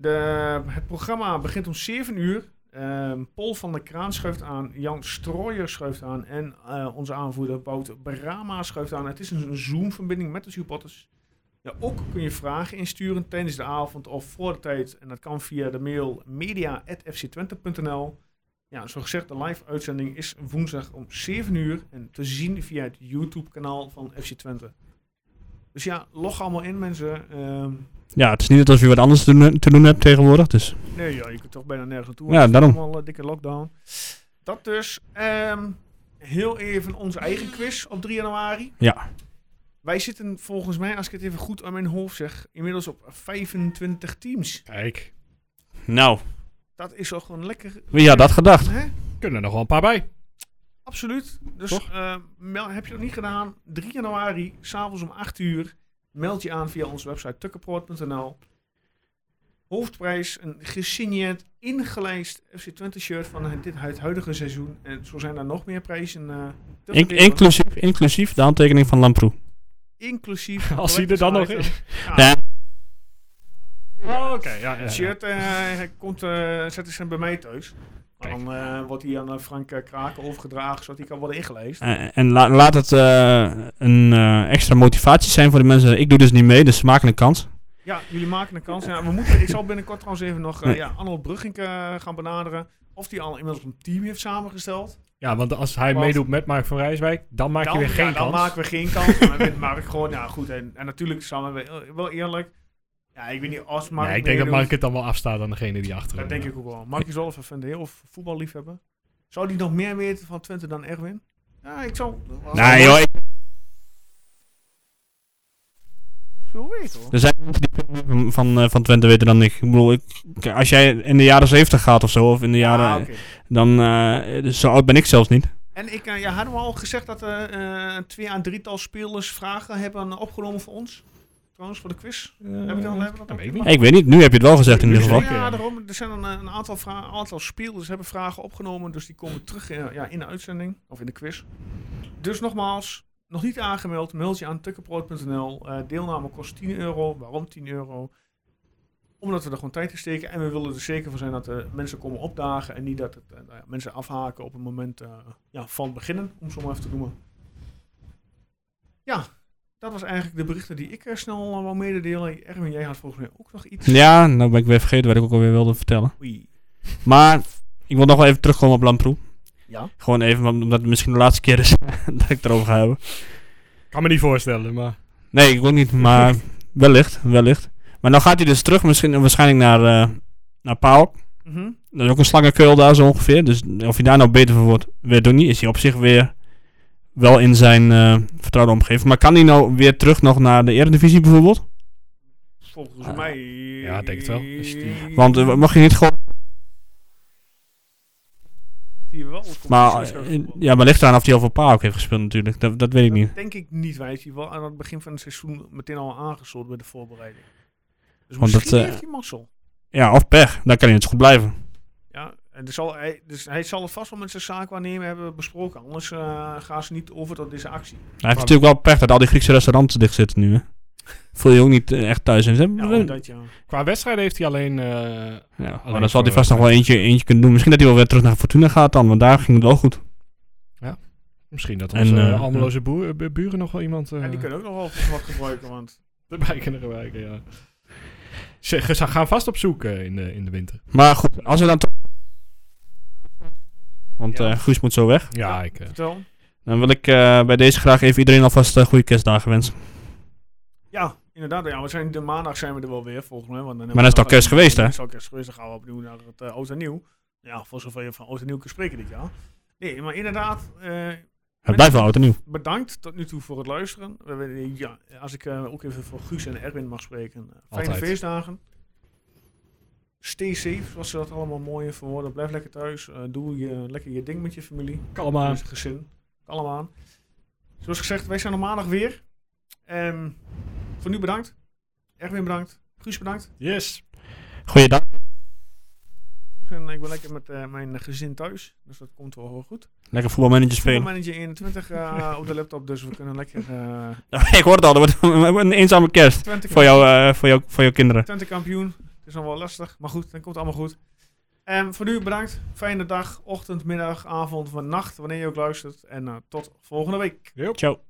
S1: De, het programma begint om 7 uur. Ehm Paul van der Kraan schuift aan, Jan Strooijer schuift aan en eh, onze aanvoerder Bout Brama schuift aan. Het is een Zoom-verbinding met de supporters. Ja, ook kun je vragen insturen tijdens de avond of voor de tijd. En dat kan via de mail media.fctwente.nl. Ja, zoals gezegd, de live-uitzending is woensdag om 7 uur en te zien via het YouTube-kanaal van FC Twente. Dus ja, log allemaal in mensen. Ehm,
S3: Ja, het is niet alsof je wat anders te doen, te doen hebt tegenwoordig. Dus
S1: Nee, ja, je kunt toch bijna nergens naartoe.
S3: Ja,
S1: Het is
S3: daarom.
S1: Allemaal eh, dikke lockdown. Dat dus. Ehm, heel even onze eigen quiz op 3 januari.
S3: ja.
S1: Wij zitten volgens mij, als ik het even goed aan mijn hoofd zeg, inmiddels op 25 teams.
S2: Kijk,
S3: Nou,
S1: Dat is toch een lekker...
S3: wie had dat gedacht?
S1: Hè?
S2: kunnen er nog wel een paar bij.
S1: Absoluut. Dus
S2: Toch?
S1: eh, mel- heb je dat niet gedaan? 3 januari, s'avonds om 8 uur. Meld je aan via onze website tukkenproort.nl. Hoofdprijs, een gesigneerd, ingelijst FC Twente shirt van het, dit, het huidige seizoen. En zo zijn er nog meer prijzen. eh, te
S3: In-
S1: verdelen.
S3: inclusief, inclusief de handtekening van Lamproe.
S1: Inclusief.
S2: Als hij er dan nog
S1: collectors
S2: is.
S1: item. Ja,
S3: Ja.
S2: Oh, oké. ja, ja, ja.
S1: Het shirt eh, komt, eh zetten ze bij mij thuis. Maar
S2: Kijk.
S1: Dan eh, wordt hij aan eh, Frank eh, Kraken overgedragen, zodat hij kan worden ingeleest.
S3: Eh, en la- laat het eh, een eh, extra motivatie zijn voor de mensen. Ik doe dus niet mee, dus maak een kans.
S1: Ja, jullie maken een kans. Ja, we moeten, ik zal binnenkort trouwens even nog eh
S3: Nee.
S1: ja, Arnold Brugink eh, gaan benaderen. Of die al inmiddels een team heeft samengesteld.
S2: Ja, want als hij
S1: Want-
S2: meedoet met Mark van Rijswijk, dan maak je
S1: Dan-
S2: weer geen
S1: ja, dan
S2: kans.
S1: maken we geen kans. maar met Mark gewoon, ja goed. En, en natuurlijk samen, we- wel eerlijk. Ja, ik weet niet, als Mark
S2: nee, ik denk dat
S1: meedoet,
S2: Mark het dan wel afstaat aan degene die achter
S1: Dat
S2: hem,
S1: denk
S2: eh,
S1: ik ook wel. Mark is wel even fan, heel veel voetballiefhebber. Zou die nog meer weten van Twente dan Erwin? Ja, ik zou...
S3: Nee joh, ik-
S1: Zo weten hoor.
S3: er zijn mensen die veel meer van, van, eh, van Twente weten dan ik. Ik bedoel, ik, k- als jij in de jaren 70 gaat of zo, of in de jaren...
S1: Ah, oké.
S3: Dan, eh, dus zo oud ben ik zelfs niet.
S1: En ik, eh, ja, hadden we al gezegd dat er eh twee aan drietal spelers vragen hebben opgenomen voor ons? Trouwens, voor de quiz. Heb ik dan, hebben we dat
S2: dat
S1: ook
S2: weet Eh, ik
S1: gedaan?
S2: niet.
S3: Ik weet niet, nu heb je het wel gezegd in ieder
S2: Nu
S3: geval.
S2: zeker.
S1: Ja, daarom. Er zijn een, eh, een aantal, vra- aantal spelers hebben vragen opgenomen. Dus die komen terug eh, ja, in de uitzending. Of in de quiz. Dus nogmaals, nog niet aangemeld. Meld je aan tukkenproot.nl. Eh, deelname kost 10 euro. Waarom 10 euro? Omdat we er gewoon tijd in steken. En we willen er zeker van zijn dat de mensen komen opdagen. En niet dat het, eh, nou ja, mensen afhaken op het moment eh, ja, van beginnen. Om zo maar even te noemen. Ja, dat was eigenlijk de berichten die ik eh, snel eh, wou mededelen. Erwin, jij had volgens mij ook nog iets.
S3: Ja, nou ben ik weer vergeten wat ik ook alweer wilde vertellen.
S1: Oei.
S3: Maar ik wil nog wel even terugkomen op Lamproe.
S1: Ja.
S3: Gewoon even, want- omdat het misschien de laatste keer is dat ik het erover ga hebben.
S2: Kan me niet voorstellen, maar...
S3: Nee, ik ook niet, maar wellicht, wellicht. Maar dan gaat hij dus terug, misschien, waarschijnlijk naar, eh naar Paal.
S1: Mhm.
S3: Dat is ook een slangenkeul daar zo ongeveer. Dus of hij daar nou beter van wordt, weet ik niet. Is hij op zich weer wel in zijn eh, vertrouwde omgeving. Maar kan hij nou weer terug nog naar de Eredivisie bijvoorbeeld?
S1: Volgens
S3: Ah,
S1: mij.
S2: ja, ik denk het wel. Dus die-
S3: Want eh, mag je niet gewoon...
S1: Zie je wel, het komt
S3: Maar,
S1: precies
S3: eh,
S1: uit voetbal.
S3: ja, maar ligt eraan of hij al voor Paal ook heeft gespeeld natuurlijk. Dat, dat weet ik niet.
S1: Dat denk ik niet. Wij zien wel aan het begin van het seizoen meteen al aangesloten bij de voorbereiding. Dus
S3: Want
S1: misschien
S3: dat, eh,
S1: heeft hij mazzel.
S3: Ja, of pech. Dan kan hij het goed blijven.
S1: Ja, eh, En er zal, hij, dus hij zal het vast wel met zijn zaakwaarnemer hebben besproken. Anders eh, gaan ze niet over tot deze actie.
S3: Hij heeft natuurlijk wel pech dat al die Griekse restaurants dicht zitten nu. Hè. Voel je ook niet eh, echt thuis in. Ze hebben-
S1: Ja,
S3: we-
S1: dat, ja.
S2: Qua wedstrijden heeft hij alleen... eh,
S3: ja, maar
S2: Alleen
S3: dan zal hij
S2: voor-
S3: vast nog wel eentje, eentje kunnen doen. Misschien dat hij wel weer terug naar Fortuna gaat dan, want daar ging het wel goed.
S2: misschien dat
S3: En,
S2: onze
S3: eh,
S2: eh, Almeloze boer- bu- buren nog wel iemand eh
S1: Ja, die kunnen ook nog wel wat gebruiken. Want
S2: erbij kunnen gebruiken, ja. Ze, ze gaan vast op zoek eh, in, de, in de winter.
S3: Maar goed, als we dan toch... Want
S1: Ja.
S3: eh, Guus moet zo weg.
S2: Ja, ik... eh,
S1: vertel.
S3: Dan wil ik eh, bij deze graag even iedereen alvast eh, goede kerstdagen wensen.
S1: Ja, inderdaad. Ja, we zijn, de maandag zijn we er wel weer volgens mij. Want dan
S3: Maar dan is het al kerst geweest, hè?
S1: Dan is het al kerst geweest. Dan gaan we opnieuw naar het eh oud en nieuw. Ja, voor zover je van oud en nieuw kunt spreken dit jaar. Nee, maar inderdaad. eh,
S3: Het blijft wel oud en nieuw.
S1: bedankt tot nu toe voor het luisteren. We willen- ja, als ik eh, ook even voor Guus en Erwin mag spreken. eh, fijne
S2: Altijd.
S1: feestdagen. Stay safe, zoals ze dat allemaal mooi verwoorden. Blijf lekker thuis. eh, doe je, lekker je ding met je familie.
S2: Kalm
S1: Met je gezin. Allemaal aan. Zoals gezegd, wij zijn op maandag weer. Ehm, voor nu bedankt. Erwin bedankt. Guus bedankt.
S2: Yes.
S3: Goeiedag.
S1: En ik ben lekker met eh, mijn gezin thuis. Dus dat komt wel heel goed.
S3: Lekker voetbalmanager spelen.
S1: Manager 21 eh, op de laptop, dus we kunnen lekker... eh,
S3: ik hoor het al, dat wordt een eenzame kerst.
S1: Twente
S3: Voor, jou, eh, voor, jou, voor jouw kinderen.
S1: Twente kampioen. Het is nog wel lastig, maar goed, dan komt het allemaal goed. En voor nu bedankt. Fijne dag, ochtend, middag, avond, of nacht, wanneer je ook luistert. En eh, tot volgende week.
S3: Ciao.